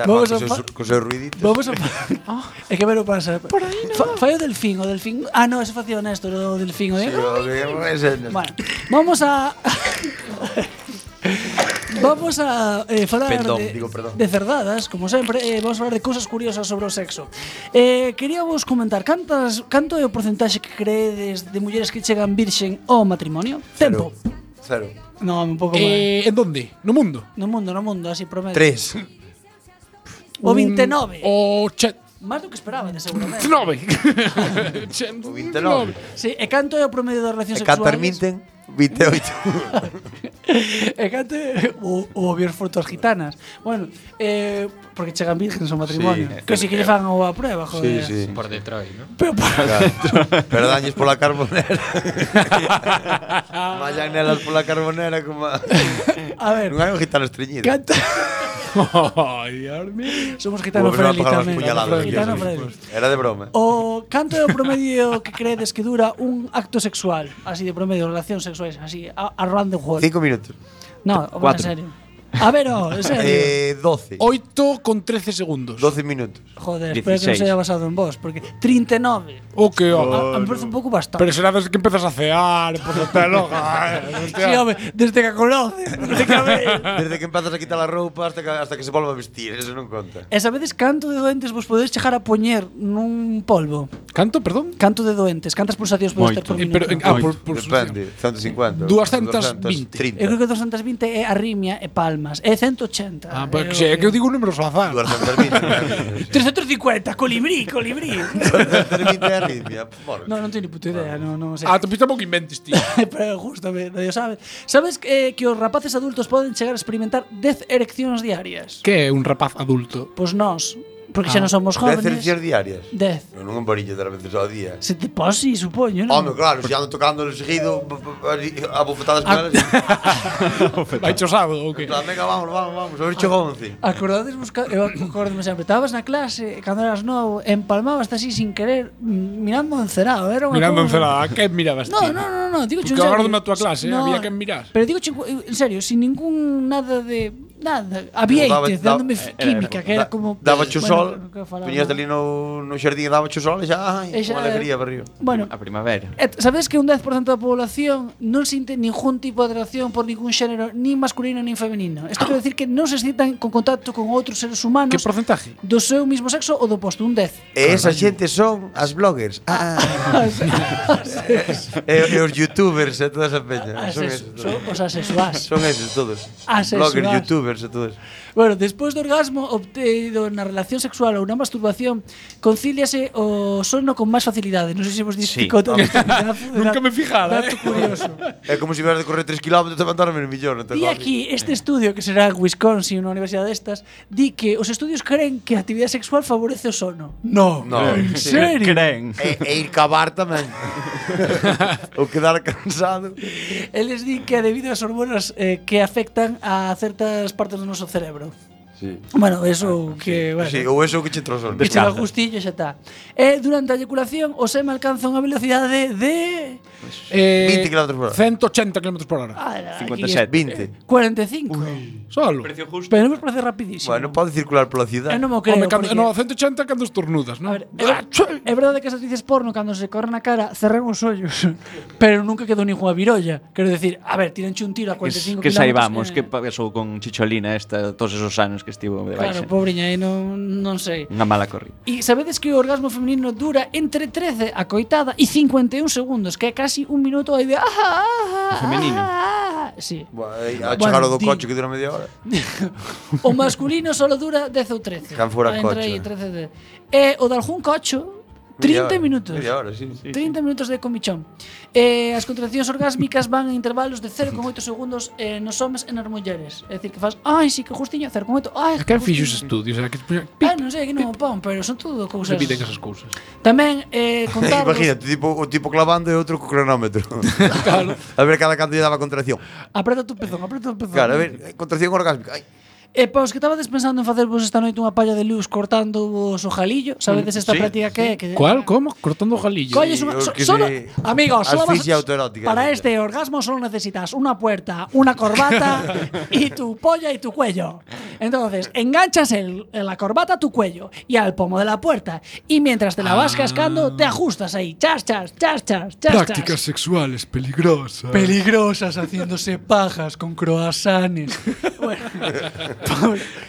Vamos a... pa- Con seu ruidito. Vamos a... <laughs> Ah, é que vero pasa. Por aí no. Fa, fai o delfín, o delfín... Ah, no, eso facía honesto, o delfín. O de... Bueno, vamos a... Vamos a eh, falar Pendón, de, digo, perdón. de cerdadas, como sempre, eh, vamos falar de cousas curiosas sobre o sexo. Eh, quería vos comentar cantas canto é o porcentaxe que creedes de mulleres que chegan virxen ao matrimonio? Tempo. Cero. No, un pouco Eh, en donde? No mundo? No mundo, no mundo, así promedio. <laughs> Tres. O 29. O che... Más do que esperaba, de seguramente. 29. o 29. Sí, e canto é o promedio das relacións E sexuais? cantar <laughs> minten, 28. E canto é o, o obviar frutos gitanas. Bueno, eh, porque chegan virgens ao matrimonio. Sí, que si que lle fan a prueba, joder. Sí, sí. Por Detroit, ¿no? eh. Pero por... <laughs> Pero dañes pola carbonera. Mallanelas pola carbonera como... A ver. Non hai un gitano estreñido. <laughs> Canto. Ay, Somos gitano Bueno, friendly pero vamos a tamén. pegar unas puñaladas aquí, Gitano sí. friendly. Oh. Era de broma. O canto é o promedio que credes que dura un acto sexual, así de promedio, relacións sexuais, así, a, a round the world. Cinco minutos. No, o en Cuatro. serio. A ver, oh, en serio. Eh, 12. 8 con 13 segundos. 12 minutos. Joder, espero que non se haya basado en vos, porque 39. O que A, a me parece un pouco bastante. Pero será desde que empezas a cear, por la <laughs> teloga. eh, hostia. Sí, home, desde que a conoce. Desde que a ve. Desde que empezas a quitar a roupa hasta que, hasta que se volva a vestir, eso non conta. E sabedes canto de doentes vos podedes chegar a poñer nun polvo? Canto, perdón? Canto de doentes, cantas pulsacións podes ter por Eh, minuto? pero, eh, ah, por, por Depende, 150. 220. Eu Eh, 230. creo que 220 é arrimia e palmas, é 180. Ah, pues, que, sí, é que eu digo números ao azar. 350, colibrí, colibrí. no, non teño ni puta idea, non, non sei. Ah, te pita que inventes, tío. <laughs> Pero justamente, nadie o sabe. Sabes eh, que, que os rapaces adultos poden chegar a experimentar 10 ereccións diarias? <laughs> que é un rapaz adulto? Pois Pues nós, porque xa non somos Ah. Dez jóvenes. cercias diarias. Dez. Non un varillo de veces ao día. Se te posi, supoño, non? Home, claro, se ando tocando el seguido b- b- a bofetadas Ah. con elas. <laughs> Vai chosado ou que? Venga, vamos, vamos, vamos. A ver, chegou 11. Acordades buscar, eu acordome sempre, estabas na clase, e cando eras novo, empalmabas así sin querer, mm, mirando encerado, era unha Mirando en celada, cousa- que mirabas ti? No, no, no, no, digo Porque acordo-me a tua clase, eh, había que mirar. Pero digo chungo, en serio, sin ningún nada de nada, había Daba- ites daba- dándome eh, química, que era como Daba cho Bueno, sol, que falaba. puñías ali no, no xardín e daba cho sol e xa, ai, E xa- unha alegría para río. Bueno, A primavera. Et- Sabedes que un 10% da población non sinte ningún tipo de atracción por ningún xénero, nin masculino nin femenino. Isto quer decir que non se excitan con contacto con outros seres humanos. Que porcentaje? Do seu mismo sexo ou do posto, un 10. E esa xente son as bloggers. Ah. e, e os youtubers e toda esa peña. As Son, es- esos son os todos. asexuás. Son esos todos. Asexuás. Bloggers, youtubers e todos. <laughs> Bueno, despois do orgasmo obtenido na relación sexual ou na masturbación, concíliase o sono con máis facilidade. Non sei se vos Sí. dixico sí. Nunca me fijara, eh. É como se si de correr 3 km e mandar mil millón. Di aquí este estudio que será en Wisconsin, unha universidade destas, di que os estudios creen que a actividade sexual favorece o sono. Oh, No. no. En serio? Creen. E, e ir cavar <laughs> tamén. o quedar cansado. Eles din que é debido ás hormonas eh, que afectan a certas partes do noso cerebro. Sí. Bueno, eso que, bueno. Sí, ou eso que che Ah, trozón. Que che dá gustillo e xa está. E durante a eyaculación o seme alcanza unha velocidade de Eh, 20 kilómetros por hora. 180 km por hora. Ala, 57. 20. 45. Solo. Precio justo. Pero non vos parece rapidísimo. Bueno, pode circular pola cidade. Eu non mo creo, Home, cando, porque- no, 180 cando estornudas, ¿no? É ver- É verdade que as actrices porno cando se corren a cara cerran os ollos, <laughs> pero nunca quedou ninguna virolla. Quero decir, a ver, tiranche un tiro a Que, 45 s- que saibamos eh, que pasou con Chicholina esta todos esos anos que estivo de Claro, baixa. pobriña, aí non, non sei. Unha mala corrida. E sabedes que o orgasmo feminino dura entre 13 a coitada e 51 segundos, que é casi un minuto aí de... Ah, ah, ah, Femenino. ah, sí. eh, A Bueno, chegar ao do di- coche que dura media hora. O masculino solo dura 10 ou 13. Can fora Ah, cocho, Entre aí, eh. 13 de... E o de algún cocho, 30 Media hora, minutos. Media hora, sí. sí. 30 minutos de comichón. Eh, as contraccións orgásmicas van en intervalos de 0,8 segundos eh, nos homes e nas mulleres. É dicir, que fas, ai, si que justiño, 0,8, ai, Que justiño". fixo os estudios, era que puña- Ah, non sei, que non o pon, pero son todo se cousas. piden esas <laughs> cousas. Tamén <laughs> eh, contarvos Imagínate, tipo, o tipo clavando e outro co <laughs> cronómetro. claro. A ver cada canto lle daba contracción. Apreta tu pezón, apreta tu pezón. Claro, a ver, eh, contracción orgásmica. Ai. E para os que estabades pensando en facer vos esta noite unha palla de luz cortando vos o jalillo, sabedes Mm, esta Sí, práctica que é? Que ¿Cuál? ¿Cómo? Cortando jalillo. Colles unha... so- solo, amigos, solo vas, autoerótica. para este orgasmo solo necesitas una puerta, <laughs> una corbata y tu polla y tu cuello. Entonces, enganchas el, la corbata a tu cuello y al pomo de la puerta. Y mientras te la Ah. vas cascando, te ajustas ahí. Chas, chas, chas, chas, chas, chas. Prácticas sexuales peligrosas. Peligrosas <laughs> haciéndose pajas con croasanes.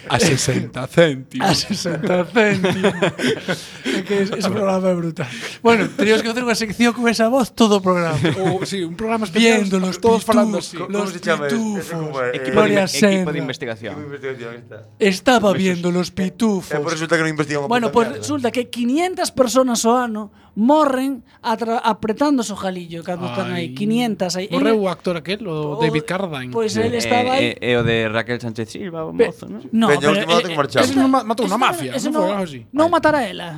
A 60 céntimos. A 60 céntimos. É que es- ese programa é brutal. Bueno, teníamos que hacer unha sección con esa voz todo o programa. O, sí, un programa especial. Viendo los pitufos, todos falando así. los ¿Cómo se llama? pitufos. Equipo de, Gloria inve- equipo de eh, Senda. investigación. Estaba viendo los pitufos. E Eh, por resulta que non investigamos Bueno, pues resulta que 500 personas o ano morren atra- apretando su jalillo cando están aí. 500 aí. Eh, Morreu o Ele- actor aquel, o O- David Carradine. pois el estaba aí. Eh, eh, eh, o de Raquel Sánchez Silva, o mozo, ¿no? No, Veña, pero, última eh, nota que eh, marchamos. Eso non ma- matou Eso unha non- mafia, eso non non- foi algo así. Non matar a ela.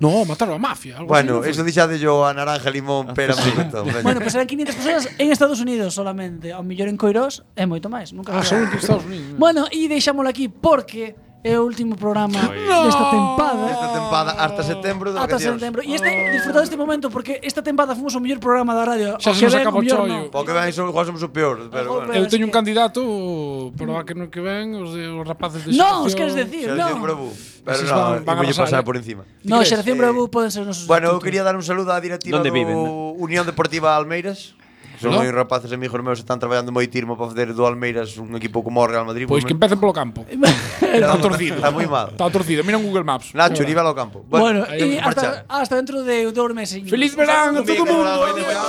No, Oh, mataron a mafia. Algo Bueno, así, eso deixade yo a naranja, limón, <laughs> pera, pimentón. Bueno, pues eran 500 personas en Estados Unidos solamente. Ao mellor en Coirós é moito máis. Nunca Ah, fui a- só en Estados Unidos. Bueno, e deixámolo aquí porque é o último programa desta tempada. Esta tempada hasta setembro do Ata que temos. Oh. setembro. E este, disfrutad este momento porque esta tempada fomos o mellor programa da radio. O que ven, o mellor non. Pau que ven, igual somos o peor, pero bueno. Eu teño Eh, un candidato para o ano que ven, os, de, os rapaces de Non, os Xeración- queres decir, non. Xeración Bravo. Pero Eses no, van- van voy a arrasar, pasar eh. por encima. No, Xeración Bravo poden ser nosos. Bueno, eu quería dar un saludo á directiva Donde do viven, Unión Deportiva Almeiras. Son No. no? rapaces amigos meus que están traballando moitirmo para facer do Almeiras un equipo como o Real Madrid. Pois Pues Pues que empecen polo campo. Está torcido. <laughs> Está moi mal. Está torcido, mira en Google Maps. Nacho, iba ao campo. Bueno, aí e temos que hasta, hasta dentro de dous meses. Feliz verán a todo o mundo.